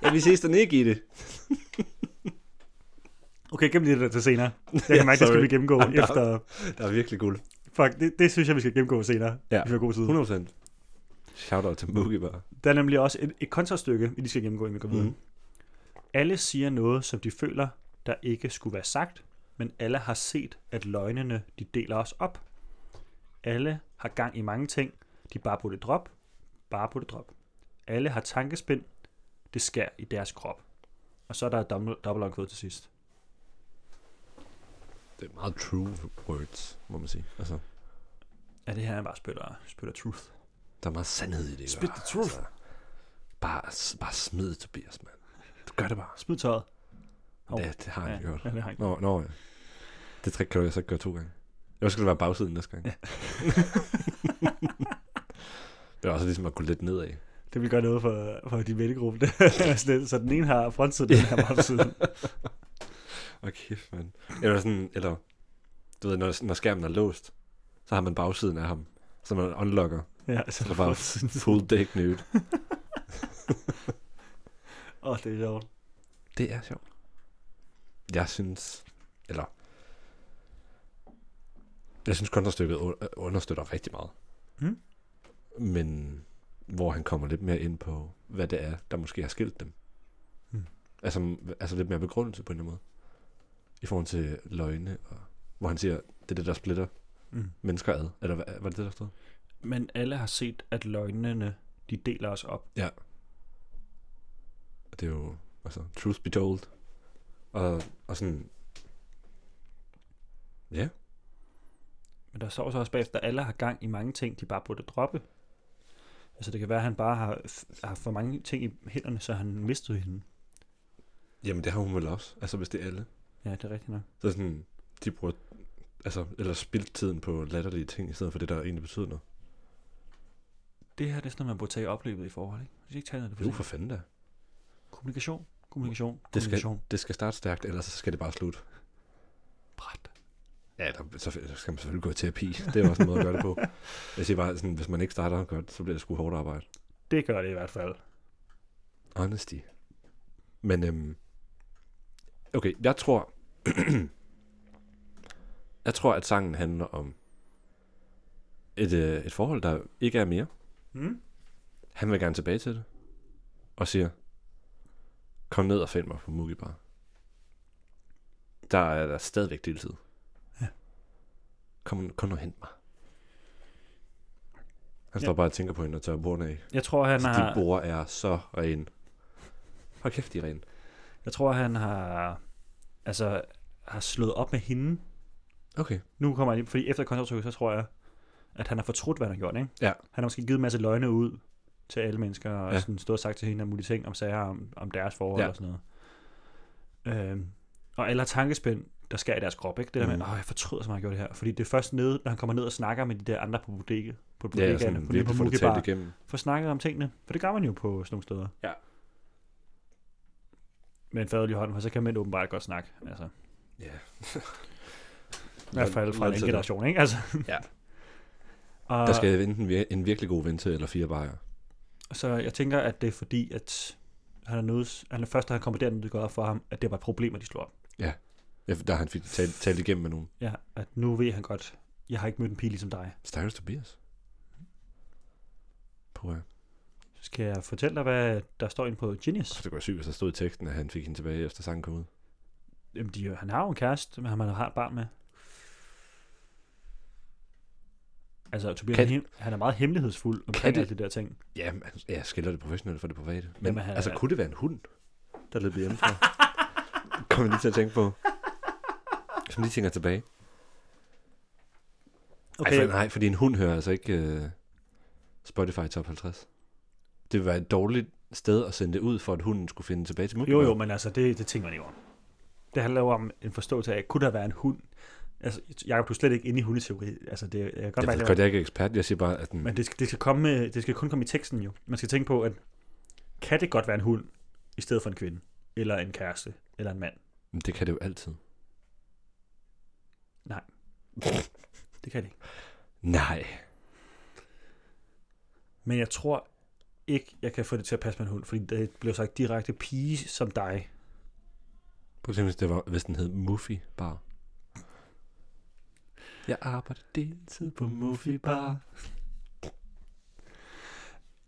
Speaker 3: ja, vi ses den ikke i det.
Speaker 2: Okay, gem lige det der til senere. Jeg kan
Speaker 3: Ja,
Speaker 2: mærke, det skal
Speaker 3: sorry.
Speaker 2: vi gennemgå
Speaker 3: I'm down.
Speaker 2: efter...
Speaker 3: Der er virkelig guld.
Speaker 2: Fuck, det, det, synes jeg, vi skal gennemgå senere.
Speaker 3: Ja.
Speaker 2: Hvis vi har god tid.
Speaker 3: 100%. Shoutout til Mookie bare.
Speaker 2: Der er nemlig også et, et kontrastykke, vi lige skal gennemgå, inden vi går videre.
Speaker 3: Mhm.
Speaker 2: Alle siger noget, som de føler, der ikke skulle være sagt, men alle har set, at løgnene, de deler os op. Alle har gang i mange ting. De bare på det drop, bare på det drop. Alle har tankespind, det skær i deres krop. Og så er der et dobbelt- dobbelt quote til sidst.
Speaker 3: Det er meget true words, må man sige. Altså,
Speaker 2: Ja, det her er bare spytter, spytter truth.
Speaker 3: der er meget sandhed i det. ikke?
Speaker 2: Spit the truth.
Speaker 3: Altså, bare, s- bare smid det, Tobias, mand. Du gør det bare.
Speaker 2: Smid tøjet. Hov.
Speaker 3: Ja, det har jeg
Speaker 2: ja,
Speaker 3: ja. gjort.
Speaker 2: Ja, det har jeg gjort.
Speaker 3: Nå, nå, ja. Det trick kan du så ikke gøre to gange. Jeg skal det være bagsiden næste gang. Ja. det er også ligesom at gå lidt nedad.
Speaker 2: Det vil gøre noget for, for din vennegruppe. Det er sådan lidt, så den ene har frontsiden, den her bare siden.
Speaker 3: Åh, kæft, mand. Eller sådan, eller, du ved, når, når skærmen er låst, så har man bagsiden af ham, så man unlocker.
Speaker 2: Ja, så
Speaker 3: Så er der bare full dick nude.
Speaker 2: Åh, oh, det er sjovt.
Speaker 3: Det er sjovt. Jeg synes, eller... Jeg synes, kontrastykket u- understøtter rigtig meget.
Speaker 2: Mm.
Speaker 3: Men hvor han kommer lidt mere ind på, hvad det er, der måske har skilt dem.
Speaker 2: Mm.
Speaker 3: Altså, altså lidt mere begrundelse på en eller anden måde. I forhold til løgne, og, hvor han siger, det er det, der splitter
Speaker 2: Mm.
Speaker 3: mennesker ad. Eller hvad, var det det, der stod?
Speaker 2: Men alle har set, at løgnene, de deler os op.
Speaker 3: Og det er jo, altså, truth be told. Og, og sådan,
Speaker 2: Men der står så også bagefter, at alle har gang i mange ting, de bare burde droppe. Altså det kan være, at han bare har, f- har for mange ting i hænderne, så han mistede hende.
Speaker 3: jamen det har hun vel også. Altså, hvis det er alle.
Speaker 2: Ja, det er rigtigt nok.
Speaker 3: Så sådan, de bruger, altså, eller spildt tiden på latterlige ting, i stedet for det, der egentlig betyder noget.
Speaker 2: Det her det er sådan noget, man burde tage i oplevet i forhold, ikke? Hvis I ikke taler det for
Speaker 3: Jo,
Speaker 2: sent.
Speaker 3: for fanden da.
Speaker 2: Kommunikation, kommunikation,
Speaker 3: Det skal-
Speaker 2: kommunikation.
Speaker 3: Det skal starte stærkt, ellers så skal det bare slutte.
Speaker 2: Bræt.
Speaker 3: Ja, der, så, så skal man selvfølgelig gå i terapi. Det er jo også en måde at gøre det på. Jeg siger bare, sådan, hvis man ikke starter godt, så bliver det sgu hårdt arbejde.
Speaker 2: Det gør det i hvert fald.
Speaker 3: Honesty. Men, øhm, okay, jeg tror, jeg tror, at sangen handler om et, øh, et forhold, der ikke er mere.
Speaker 2: Mm?
Speaker 3: Han vil gerne tilbage til det. Og siger, kom ned og find mig på Mookie Bar. Der er der stadigvæk deltid.
Speaker 2: Ja.
Speaker 3: Kom, kom nu og hent mig. Han
Speaker 2: Ja.
Speaker 3: står bare og tænker på hende og tørrer bordene af.
Speaker 2: Jeg tror, han
Speaker 3: Altså,
Speaker 2: har...
Speaker 3: de bord er så rene. Hold kæft, de er rene.
Speaker 2: Jeg tror, han har, altså, har slået op med hende.
Speaker 3: Okay.
Speaker 2: Nu kommer jeg lige, fordi efter kontratrykket, så tror jeg, at han har fortrudt, hvad han har gjort, ikke?
Speaker 3: Ja.
Speaker 2: Han har måske givet en masse løgne ud til alle mennesker, og ja.
Speaker 3: Ja.
Speaker 2: sådan stået og sagt til hende om mulige ting, om sager, om, om deres forhold ja.
Speaker 3: Ja.
Speaker 2: og sådan noget. Øhm, og alle har tankespænd, der skal i deres krop, ikke? Det der mm.
Speaker 3: Mhm.
Speaker 2: med, åh, jeg fortryder så meget, jeg gjorde det her. Fordi det er først nede, når han kommer ned og snakker med de der andre på bodega, på
Speaker 3: Ja,
Speaker 2: bodegaerne, ja,
Speaker 3: og sådan
Speaker 2: på, nede på
Speaker 3: virkelig få det
Speaker 2: Mugibar,
Speaker 3: talt igennem.
Speaker 2: får snakket om tingene, for det gør man jo på sådan nogle steder.
Speaker 3: Ja.
Speaker 2: Med en fadelig hånd, for så kan man åbenbart godt snakke. Altså,
Speaker 3: Ja.
Speaker 2: I hvert fald fra en
Speaker 3: Lad-
Speaker 2: generation, ikke? Altså.
Speaker 3: Ja.
Speaker 2: Og,
Speaker 3: Der skal enten vir- en virkelig god ven til, eller fire bajer.
Speaker 2: Så jeg tænker, at det er fordi, at han er nødt, han er først, da han kommer derned, det går op for ham, at det var et problem, at de slog op.
Speaker 3: Ja, Der har han fik talt, talt igennem med nogen.
Speaker 2: Ja, at nu ved han godt, jeg har ikke mødt en pige ligesom dig.
Speaker 3: Stakkels Tobias. På ja.
Speaker 2: Skal jeg fortælle dig, hvad der står inde på Genius?
Speaker 3: Det var sygt, hvis der stod i teksten, at han fik hende tilbage, efter sangen kom ud.
Speaker 2: Jamen, de, han har jo en kæreste, men han har et barn med. Altså, Tobias,
Speaker 3: Kan-
Speaker 2: kan... han, han er meget hemmelighedsfuld omkring
Speaker 3: det-
Speaker 2: alle de der ting.
Speaker 3: Ja, man, jeg skiller det professionelle fra det private. Men
Speaker 2: Jamen, han-
Speaker 3: altså, kunne det være en hund, der løb hjemmefra? Kom jeg lige til at tænke på. Som lige tænker tilbage. Okay. Ej, for, nej, fordi en hund hører altså ikke uh, Spotify Top 50. Det ville være et dårligt sted at sende det ud, for at hunden skulle finde tilbage til
Speaker 2: Jo,
Speaker 3: Muggleberg.
Speaker 2: jo, men altså, det, det tænker man jo om. Det handler jo om en forståelse af, kunne der være en hund? Altså, Jacob, du er slet ikke inde i hundeteori. Altså, det jeg kan godt
Speaker 3: Jeg
Speaker 2: være,
Speaker 3: ved
Speaker 2: det
Speaker 3: godt, jeg er ikke ekspert. Jeg siger bare, at den...
Speaker 2: men det skal, det, skal komme, med- det skal kun komme i teksten jo. Man skal tænke på, at kan det godt være en hund, i stedet for en kvinde? Eller en kæreste? Eller en mand?
Speaker 3: Men det kan det jo altid.
Speaker 2: Det kan det ikke.
Speaker 3: Nej.
Speaker 2: Men jeg tror ikke, jeg kan få det til at passe med en hund, fordi det blev sagt direkte pige som dig.
Speaker 3: Prøv at tænke, hvis, det var, hvis den hed Muffy Bar. Jeg arbejder deltid på Muffy Bar.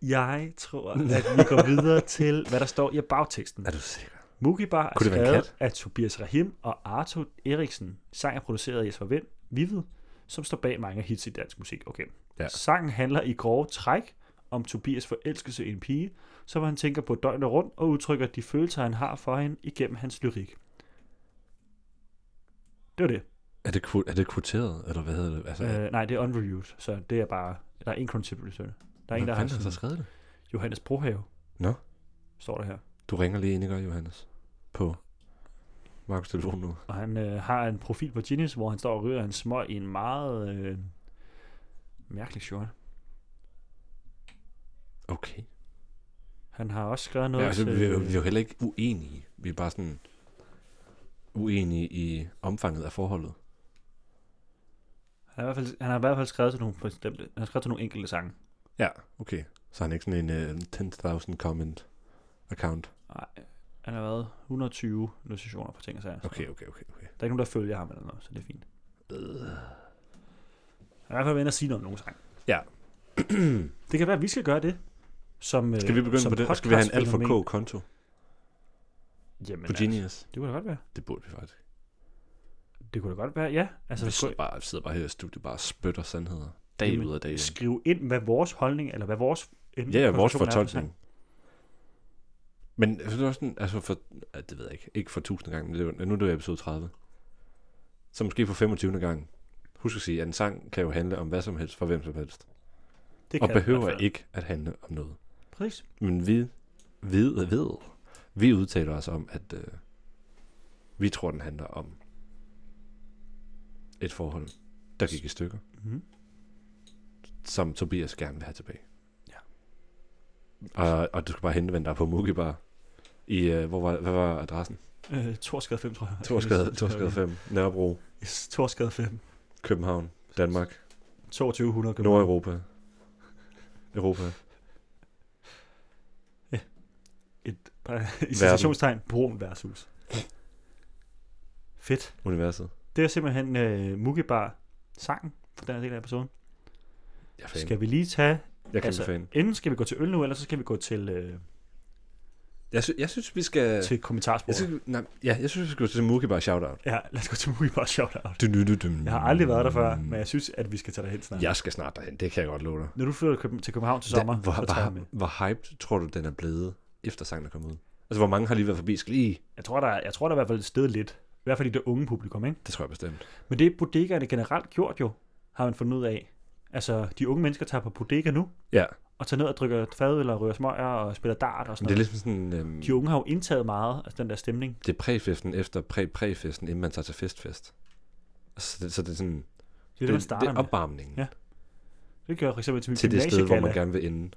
Speaker 2: Jeg tror, at vi går videre til, hvad der står i bagteksten.
Speaker 3: Er du sikker?
Speaker 2: Mugibar er
Speaker 3: Kunne det være en
Speaker 2: skrevet af Tobias Rahim og Arto Eriksen. Sang er produceret af Jesper Vind, Vivid, som står bag mange hits i dansk musik. Okay.
Speaker 3: Ja.
Speaker 2: Sangen handler i grove træk om Tobias forelskelse i en pige, som han tænker på døgnet rundt og udtrykker de følelser, han har for hende igennem hans lyrik. Det var det.
Speaker 3: Er det, kvo- er det kvoteret, eller hvad hedder det? Altså, øh,
Speaker 2: Øh, nej, det er unreviewed, så det er bare... Der er en grund til, at det. er. Der er en, der har
Speaker 3: fanden har så
Speaker 2: sådan,
Speaker 3: skrevet det?
Speaker 2: Johannes Brohave.
Speaker 3: Nå.
Speaker 2: Står der her.
Speaker 3: Du ringer lige ind, ikke, Johannes? På Markus telefon nu.
Speaker 2: Og han øh, har en profil på Guinness, hvor han står og ryger en smøg i en meget øh, mærkelig short.
Speaker 3: Okay.
Speaker 2: Han har også skrevet noget
Speaker 3: Ja, altså,
Speaker 2: til...
Speaker 3: vi, er jo, vi er jo heller ikke uenige. Vi er bare sådan uenige i omfanget af forholdet.
Speaker 2: han, har i hvert fald, han har i hvert fald skrevet til nogle bestemte... Han har skrevet til nogle enkelte sange.
Speaker 3: Ja, okay. Så er han ikke sådan en uh, 10.000 comment account.
Speaker 2: Nej, han har været 120 notationer på ting og sager. så
Speaker 3: Okay, okay, okay.
Speaker 2: Der
Speaker 3: okay.
Speaker 2: er ikke nogen, der følger ham eller noget, så det er fint. Han har i hvert fald været inde og sige noget om nogle sange.
Speaker 3: Ja.
Speaker 2: det kan være, at vi skal gøre det. Som, øh,
Speaker 3: Skal vi begynde
Speaker 2: som
Speaker 3: på det? Og Skal vi have en alt for
Speaker 2: podcastfænomen.
Speaker 3: K-konto
Speaker 2: Jamen,
Speaker 3: på
Speaker 2: altså,
Speaker 3: Genius?
Speaker 2: det kunne da godt være.
Speaker 3: Det burde vi faktisk.
Speaker 2: Det kunne da godt være, ja.
Speaker 3: Altså,
Speaker 2: Altså,
Speaker 3: vi
Speaker 2: gå-
Speaker 3: sidder bare, sidder bare her i studiet bare og spytter sandheder. Dag
Speaker 2: Jamen,
Speaker 3: ud af dag. ind.
Speaker 2: skrive ind, hvad vores holdning, eller hvad vores...
Speaker 3: Ja, ja, vores
Speaker 2: konklusion er på
Speaker 3: fortolkning.
Speaker 2: sagen.
Speaker 3: Men jeg synes også sådan, altså for, ja, det ved jeg ikke, ikke for tusind gange, men det er, jo- nu er det jo episode 30. Så måske for 25. gang. Husk at sige, at en sang kan jo handle om hvad som helst for hvem som helst.
Speaker 2: Det
Speaker 3: Og
Speaker 2: kan den i
Speaker 3: behøver
Speaker 2: hvert fald.
Speaker 3: ikke at handle om noget.
Speaker 2: Præcis.
Speaker 3: Men vi, ved, ved, vi udtaler os om, at øh, vi tror, den handler om et forhold, der gik i stykker,
Speaker 2: Mm-hmm.
Speaker 3: som Tobias gerne vil have tilbage.
Speaker 2: Ja.
Speaker 3: Og, og du skal bare henvende dig på Mugibar. I, øh, hvor var, hvad var adressen?
Speaker 2: Øh, Torskade 5, tror jeg.
Speaker 3: Torskade, Torskade 5, Nørrebro,
Speaker 2: Yes, Torskade 5.
Speaker 3: København, Danmark,
Speaker 2: 2200 køber.
Speaker 3: Nordeuropa, Europa.
Speaker 2: Et, par- I situationstegn, brun værtshus. Fedt.
Speaker 3: Universet.
Speaker 2: Det er simpelthen øh, Mugibar sangen for den her del af episoden.
Speaker 3: Jeg er fan.
Speaker 2: Skal vi lige tage...
Speaker 3: jeg kan
Speaker 2: altså-
Speaker 3: altså, fan.
Speaker 2: Enten skal vi gå til øl nu, eller så skal vi gå til, øh,
Speaker 3: Jeg, sy- jeg synes, vi skal...
Speaker 2: til
Speaker 3: Jeg
Speaker 2: kommentarsporet.
Speaker 3: synes, vi- nej, ja, jeg synes, vi skal gå til Mugibar shout-out.
Speaker 2: Ja, lad os gå til Mugibar shoutout.
Speaker 3: Du, du, du, du.
Speaker 2: Jeg har aldrig været der før, men jeg synes, at vi skal tage dig hen snart.
Speaker 3: Jeg skal snart derhen, det kan jeg godt love dig.
Speaker 2: Når du flytter til Køben- til København til sommer,
Speaker 3: hvor,
Speaker 2: så tager jeg med.
Speaker 3: hvor, hvor hyped tror du, den er blevet, efter sangen er kommet ud? Altså, hvor mange har lige været forbi? Skal lige...
Speaker 2: Jeg tror, der, er- jeg tror, der er i hvert fald et sted lidt. I hvert fald i det unge publikum, ikke?
Speaker 3: Det tror jeg bestemt.
Speaker 2: Men det er bodegaerne generelt gjort jo, har man fundet ud af. Altså, de unge mennesker tager på bodega nu,
Speaker 3: Ja,
Speaker 2: og tager ned og drikker fadøl og rører smøger og spiller dart og
Speaker 3: men
Speaker 2: sådan
Speaker 3: det er
Speaker 2: noget.
Speaker 3: ligesom sådan... Øhm,
Speaker 2: De unge har jo indtaget meget, altså den der stemning.
Speaker 3: det er præfesten efter præ-præfesten, inden man tager til festfest. Altså, Så det, så det er sådan...
Speaker 2: Det er det, man starter
Speaker 3: det er
Speaker 2: med.
Speaker 3: opvarmningen
Speaker 2: Ja.
Speaker 3: ja,
Speaker 2: Det gør jeg for eksempel til min
Speaker 3: til det sted, hvor man
Speaker 2: gymnasiegala.
Speaker 3: gerne vil ende.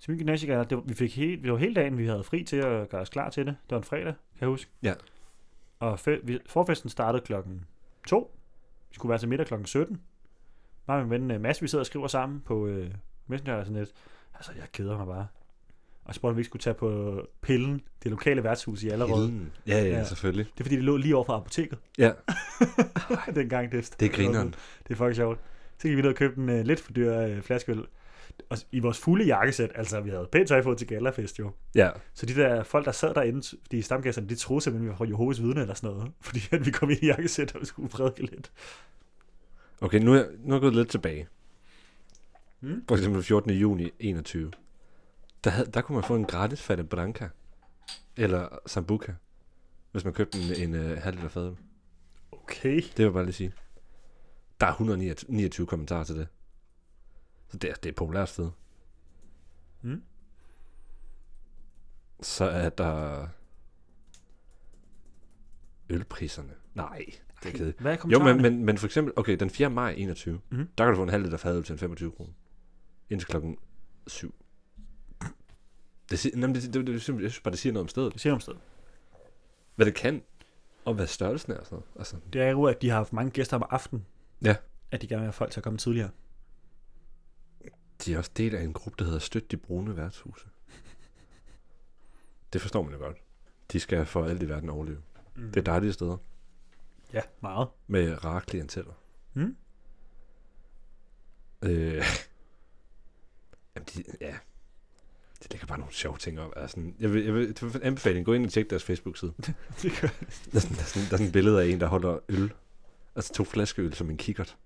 Speaker 2: Til min gymnasiegala, det var, vi fik helt, det var hele dagen, vi havde fri til at gøre os klar til det. Det var en fredag, kan jeg huske.
Speaker 3: Ja.
Speaker 2: Og fe- vi- forfesten startede klokken 2. Vi skulle være til middag klokken 17. Mig og min ven øh, Mads, vi sidder og skriver sammen på øh, Messenger og sådan lidt. Altså, jeg keder mig bare. Og så spurgte han, om vi ikke skulle tage på Pillen, det lokale værtshus i Allerød.
Speaker 3: Hilden. Ja, ja,
Speaker 2: Ja.
Speaker 3: selvfølgelig.
Speaker 2: Det er fordi, det lå lige over for apoteket,
Speaker 3: Ja,
Speaker 2: dengang det
Speaker 3: det er grineren.
Speaker 2: Det er fucking sjovt. Så gik vi ned og købte en uh, lidt for dyr uh, flaskeøl. Og s- i vores fulde jakkesæt, altså vi havde pænt tøj på til galafest jo.
Speaker 3: Ja,
Speaker 2: Så de der folk, der sad derinde, de stamgæsterne, de troede simpelthen, vi var fra Jehovas vidne eller sådan noget. Fordi at vi kom ind i jakkesæt, og vi skulle prædike lidt.
Speaker 3: okay, nu er, jeg- nu er jeg gået lidt tilbage.
Speaker 2: Mm.
Speaker 3: For eksempel 14. juni 21. Der, havde, der kunne man få en gratis Fanta Branca. Eller Sambuca. Hvis man købte en, en uh, halv liter fadøl.
Speaker 2: Okay.
Speaker 3: Det vil jeg bare lige sige. Der er 129 kommentarer til det. Så det er, det er et populært sted.
Speaker 2: Mm.
Speaker 3: Så er der... Ølpriserne. Nej, det er kedeligt.
Speaker 2: Hvad er
Speaker 3: Jo,
Speaker 2: kommentarerne?
Speaker 3: men, men, men for eksempel, okay, den 4. maj 21,
Speaker 2: Mhm.
Speaker 3: mm. der kan du få en halv liter fadøl til en 25 kroner. Indtil klokken 7. Det, siger, jamen, det, det, det, det, jeg synes bare, det siger noget om stedet.
Speaker 2: Det siger om stedet.
Speaker 3: Hvad det kan, og hvad størrelsen er og sådan noget. Altså,
Speaker 2: Det er jo, at de har haft mange gæster om aftenen.
Speaker 3: Ja.
Speaker 2: At de gerne vil have folk til at komme tidligere.
Speaker 3: de er også del af en gruppe, der hedder Støt de brune værtshuse. Det forstår man jo godt. De skal for alt i verden overleve.
Speaker 2: Mm.
Speaker 3: Det er dejlige steder.
Speaker 2: Ja, meget.
Speaker 3: Med rare klienteller.
Speaker 2: Mm.
Speaker 3: Øh, jamen, de, ja. De lægger bare nogle sjove ting op. Altså, sådan- jeg, vil, jeg vil til anbefaling, gå ind og tjek deres Facebook-side. der,
Speaker 2: Det gør
Speaker 3: er sådan, der, er sådan, der er sådan et billede af en, der holder øl. Altså to flaskeøl som en kikkert.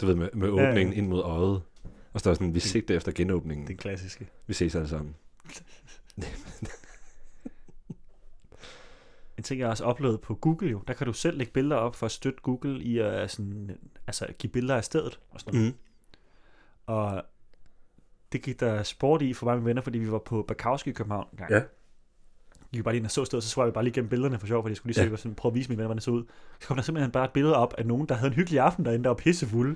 Speaker 3: Du ved, med, med
Speaker 2: Ja, ja.
Speaker 3: åbningen ind mod øjet. Og så er der sådan, vi sigter efter genåbningen.
Speaker 2: Den klassiske.
Speaker 3: Vi ses alle sammen.
Speaker 2: En ting, jeg også oplevede på Google jo, der kan du selv lægge billeder op for at støtte Google i at øh, sådan, altså, give billeder af stedet og sådan noget.
Speaker 3: Mm.
Speaker 2: Og det gik der sport i for mig og mine venner, fordi vi var på Bakowski i København en gang.
Speaker 3: Ja.
Speaker 2: Vi gik bare lige ind og så stedet, så swipede jeg bare lige gennem billederne for sjov, fordi jeg skulle lige se,
Speaker 3: Ja.
Speaker 2: ja. sådan, prøve at vise mine venner, hvordan det så ud. Så kom der simpelthen bare et billede op af nogen, der havde en hyggelig aften derinde, der var pissefulde.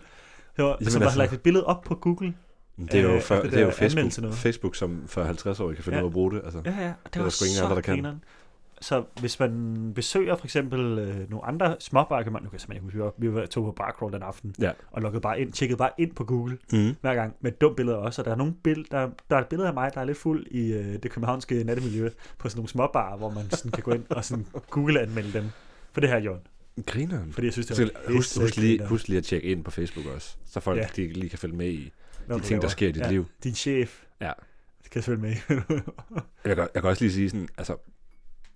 Speaker 2: Det var,
Speaker 3: Jamen
Speaker 2: som bare havde
Speaker 3: altså.
Speaker 2: lagt et billede op på Google.
Speaker 3: Men Det er jo,
Speaker 2: Øh,
Speaker 3: for,
Speaker 2: efter det
Speaker 3: det er jo
Speaker 2: der anmeldelse
Speaker 3: Facebook,
Speaker 2: noget.
Speaker 3: Facebook, som for 50-årige kan finde
Speaker 2: Ja.
Speaker 3: ud af at bruge det. Altså.
Speaker 2: Ja, ja, og det,
Speaker 3: er
Speaker 2: var
Speaker 3: der sgu ingen
Speaker 2: så
Speaker 3: andre, der kan.
Speaker 2: grineren. Så hvis man besøger for eksempel øh, nogle andre småbarer, kan man, nu kan jeg simpelthen ikke huske, vi var- vi var tog på barcrawl den aften,
Speaker 3: Ja.
Speaker 2: og lukkede bare ind, tjekkede bare ind på Google
Speaker 3: Mm.
Speaker 2: hver gang med et dumt billede også, og der er, nogle bill- der, der er et billede af mig, der er lidt fuld i øh, det københavnske nattemiljø på sådan nogle småbarer, hvor man sådan kan gå ind og sådan Google-anmelde dem. For det her, Jørgen.
Speaker 3: Grineren.
Speaker 2: Fordi jeg synes, det
Speaker 3: Så,
Speaker 2: var
Speaker 3: husk, husk, lige,
Speaker 2: pissegrineren.
Speaker 3: husk lige at tjekke ind på Facebook også, så folk ja.
Speaker 2: Ja.
Speaker 3: de lige kan følge med i
Speaker 2: Nå,
Speaker 3: de
Speaker 2: du
Speaker 3: ting, der
Speaker 2: laver.
Speaker 3: sker i dit
Speaker 2: Ja.
Speaker 3: ja. liv.
Speaker 2: Din chef
Speaker 3: Ja.
Speaker 2: kan selvfølgelig med.
Speaker 3: Jeg kan, jeg kan også lige sige sådan, altså,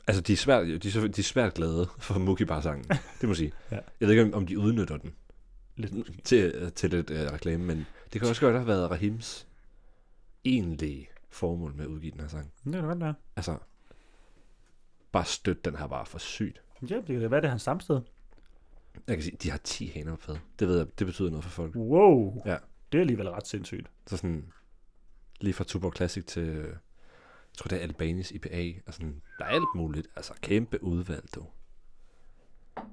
Speaker 3: altså de, er svært, de, er, så- de er svært glade for Mookie Bar-sangen, det må jeg sige.
Speaker 2: Ja.
Speaker 3: Jeg ved ikke, om- om de udnytter den
Speaker 2: lidt
Speaker 3: Mm. til, til lidt øh, reklame, men det kan også godt have været Rahims egentlige formål med at udgive den her sang.
Speaker 2: Det kan godt være.
Speaker 3: Altså, bare støt den her bare for sygt.
Speaker 2: Ja, det kan da være, det er hans stamsted.
Speaker 3: Jeg kan sige, de har 10 haner på fad. Det ved jeg, det betyder noget for folk.
Speaker 2: Wow.
Speaker 3: Ja.
Speaker 2: Det er alligevel ret sindssygt.
Speaker 3: Så sådan, lige fra Tuborg Classic til, øh, jeg tror det er Albanis IPA, og sådan, der er alt muligt. Altså, kæmpe udvalg, du.
Speaker 2: Det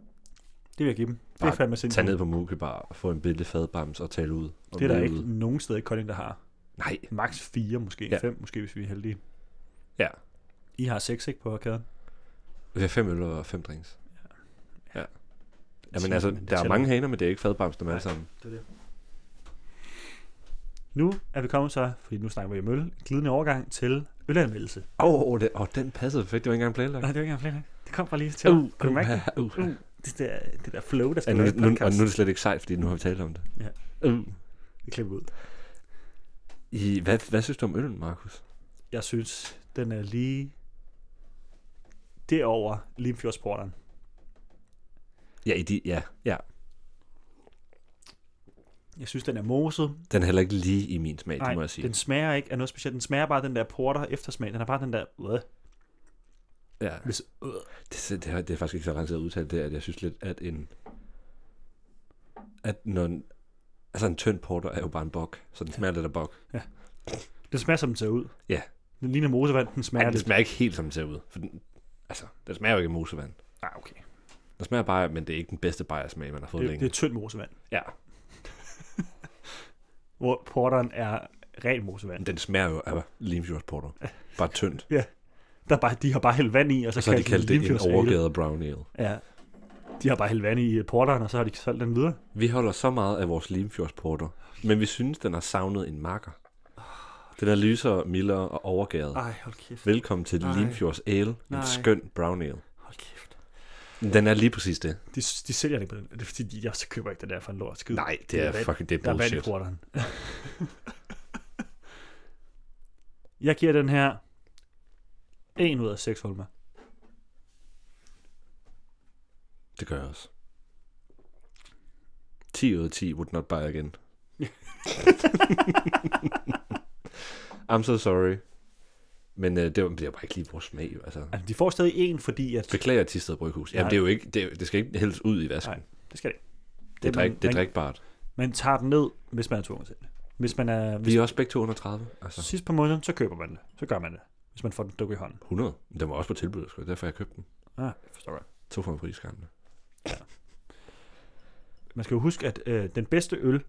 Speaker 2: vil jeg give dem. Det er
Speaker 3: Bare
Speaker 2: fandme
Speaker 3: Tag
Speaker 2: sindssygt.
Speaker 3: ned på Moke Bar og få en billig fadbams og tale ud. Og
Speaker 2: det er der
Speaker 3: møde
Speaker 2: ikke
Speaker 3: ud.
Speaker 2: nogen sted i Kolding, der har.
Speaker 3: Nej,
Speaker 2: Max 4, måske
Speaker 3: Ja.
Speaker 2: 5, måske hvis vi er heldige.
Speaker 3: ja.
Speaker 2: I har 6, ikke, på arkaden?
Speaker 3: Vi har fem øl og fem drinks. Ja. Jamen
Speaker 2: Ti,
Speaker 3: altså,
Speaker 2: men det
Speaker 3: der er
Speaker 2: tæller
Speaker 3: mange haner, men det er ikke fadbams, dem alle sammen.
Speaker 2: Det er det. Nu er vi kommet så, fordi nu snakker vi om øl, en glidende overgang til ølanmeldelse.
Speaker 3: Åh, oh, det, oh, den passede perfekt. Det var ikke engang planlagt.
Speaker 2: Nej, det var ikke engang flere. Det kom bare lige til.
Speaker 3: Uh,
Speaker 2: mig.
Speaker 3: uh,
Speaker 2: Kan du mærke det?
Speaker 3: uh, uh.
Speaker 2: Uh, det, der, det der flow, der
Speaker 3: Ja,
Speaker 2: skal
Speaker 3: nu,
Speaker 2: være i
Speaker 3: nu, og
Speaker 2: podcast.
Speaker 3: nu er det slet ikke sejt, fordi nu har vi talt om det.
Speaker 2: Ja.
Speaker 3: Uh.
Speaker 2: Det klipper vi ud.
Speaker 3: I, hvad, hvad synes du om øllen, Markus?
Speaker 2: Jeg synes, den er lige derover Limfjordsporteren.
Speaker 3: Ja, i de, ja, ja.
Speaker 2: Jeg synes, den er moset.
Speaker 3: Den er heller ikke lige i min smag, Nej,
Speaker 2: Nej,
Speaker 3: det må jeg sige.
Speaker 2: den smager ikke af noget specielt. Den smager bare den der porter eftersmag. Den er bare den der... Øh,
Speaker 3: Ja.
Speaker 2: hvis, øh,
Speaker 3: Det, det, har, det er faktisk ikke så lang tid at udtale det, at jeg synes lidt, at en... At når en, altså en tynd porter er jo bare en bok, så den smager lidt af bok.
Speaker 2: den smager, som den ser ud.
Speaker 3: Ja.
Speaker 2: Den ligner mosevand, den smager
Speaker 3: Men den
Speaker 2: lidt.
Speaker 3: smager ikke helt, som den ser ud. For den, altså, den smager jo ikke af mosevand.
Speaker 2: Nej, Ah, okay.
Speaker 3: Den smager bare, men det er ikke den bedste bajersmag, man har fået
Speaker 2: Det, er-
Speaker 3: længe.
Speaker 2: det er tynd mosevand.
Speaker 3: Ja,
Speaker 2: Hvor porteren er ren mosevand.
Speaker 3: men den smager jo af limfjordsporter. Bare tyndt.
Speaker 2: Der er bare, de har bare hældt vand i, og så,
Speaker 3: Og så har de kaldt det en
Speaker 2: Limfjordsale.
Speaker 3: overgade brown ale.
Speaker 2: Ja. De har bare hældt vand i øh, porteren, og så har de solgt den videre.
Speaker 3: Vi holder så meget af vores Limfjordsporter, men vi synes, den har savnet en marker. Den er lysere, mildere og overgæret.
Speaker 2: Ej, hold kæft.
Speaker 3: Velkommen til
Speaker 2: Nej.
Speaker 3: Limfjords Ale,
Speaker 2: Nej.
Speaker 3: en skøn brown ale.
Speaker 2: Hold kæft.
Speaker 3: Den er lige præcis det.
Speaker 2: De, de sælger det på den. Det er fordi, de, jeg så køber ikke det der for en lort skid.
Speaker 3: Nej, det er
Speaker 2: vand.
Speaker 3: fucking det
Speaker 2: Der
Speaker 3: er
Speaker 2: er vand i
Speaker 3: bullshit.
Speaker 2: porteren. jeg giver den her 1 ud af 6 Holmer.
Speaker 3: Det gør jeg også. 10 ud af 10 would not buy again. I'm so sorry. Men øh, det, var, det var bare ikke lige vores smag. Altså.
Speaker 2: Altså, de får stadig en, fordi at...
Speaker 3: Beklager Tisted Bryghus. Jamen,
Speaker 2: Nej.
Speaker 3: det, er jo ikke, det, er- det skal ikke hældes ud i vasken.
Speaker 2: Nej, det skal det. ikke.
Speaker 3: det, er
Speaker 2: man-
Speaker 3: drik, det er
Speaker 2: man-
Speaker 3: drikbart.
Speaker 2: Man tager den ned, hvis man er tvunget til det. Hvis man er... Hvis
Speaker 3: Vi er også begge 230. Altså,
Speaker 2: sidst på måneden, så køber man det. Så gør man det. Hvis man får den dukket i hånden.
Speaker 3: 100. Den var også på tilbud, sgu. Derfor jeg købte den.
Speaker 2: Ah, jeg forstår godt.
Speaker 3: To for en pris, gamle.
Speaker 2: Man skal jo huske, at øh, den bedste øl,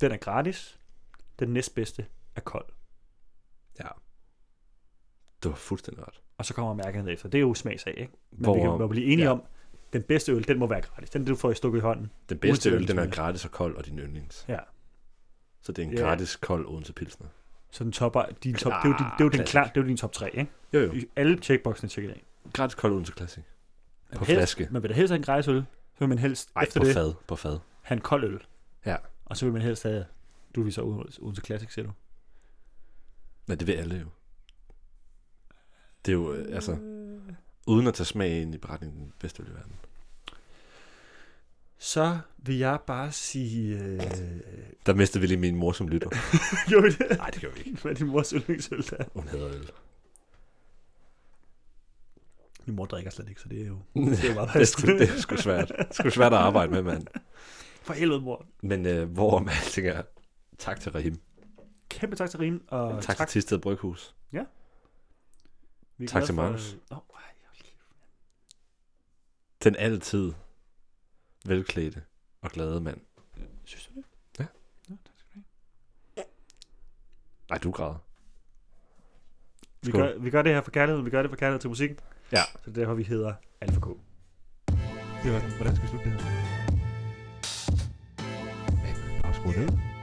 Speaker 2: den er gratis. Den næstbedste er kold.
Speaker 3: Ja. Det var fuldstændig ret.
Speaker 2: Og så kommer mærkerne efter. Det er jo smagsag, ikke? Men Hvor, vi kan jo
Speaker 3: Hvor
Speaker 2: blive enige ja.
Speaker 3: ja.
Speaker 2: om, den bedste øl, den må være gratis. Den, du får i stukket i hånden.
Speaker 3: den bedste øl, den er
Speaker 2: uanset-
Speaker 3: gratis og kold, og din yndlings.
Speaker 2: Ja.
Speaker 3: Så det er en
Speaker 2: Ja.
Speaker 3: gratis kold Odense Pilsner.
Speaker 2: Så den topper, din top, det er jo din, det er jo din,
Speaker 3: Klassisk.
Speaker 2: klar, det er jo din top 3, ikke?
Speaker 3: Jo, jo.
Speaker 2: I Alle checkboxene tjekket af.
Speaker 3: Gratis kold Odense Classic.
Speaker 2: Man
Speaker 3: På
Speaker 2: vil helst-
Speaker 3: flaske.
Speaker 2: Man vil da helst have en gratis øl, så vil man helst Ej,
Speaker 3: Nej,
Speaker 2: efter
Speaker 3: på
Speaker 2: det
Speaker 3: fad. På fad.
Speaker 2: have en kold øl.
Speaker 3: Ja.
Speaker 2: Og så vil man helst have, du viser uden, uden til Classic, siger du.
Speaker 3: Nej, det ved alle jo. Det er jo, øh, altså, uden at tage smag ind i beretningen, den bedste øl i verden.
Speaker 2: Så vil jeg bare sige... Øh...
Speaker 3: Der mistede vi lige min mor som lytter.
Speaker 2: jo, det
Speaker 3: Nej, det gør vi ikke.
Speaker 2: Hvad er din mors yndlingsøl, der er?
Speaker 3: Hun hader øl.
Speaker 2: Min mor drikker slet ikke, så det er jo...
Speaker 3: Det
Speaker 2: er
Speaker 3: er,
Speaker 2: meget
Speaker 3: det er, sgu, det er sgu svært. Det er sgu svært at arbejde med, mand.
Speaker 2: For helvede, mor.
Speaker 3: Men øh, hvorom alting er, tak til Rahim.
Speaker 2: Kæmpe tak til Rim, og
Speaker 3: Tak, tak. til Tisted Bryghus.
Speaker 2: Vi er
Speaker 3: tak
Speaker 2: glade
Speaker 3: til
Speaker 2: for-
Speaker 3: Magnus.
Speaker 2: Åh, ej, hold kæft.
Speaker 3: Den altid velklædte og glade mand.
Speaker 2: Synes du det?
Speaker 3: Ja.
Speaker 2: Nå, tak skal du have.
Speaker 3: Nej, du græder.
Speaker 2: Vi
Speaker 3: Skål.
Speaker 2: gør, vi gør det her for kærlighed, vi gør det for kærlighed til musikken.
Speaker 3: Ja.
Speaker 2: Så derfor vi hedder Alfa K. Det var den. Hvordan skal vi slutte det her?
Speaker 3: Afskru ned.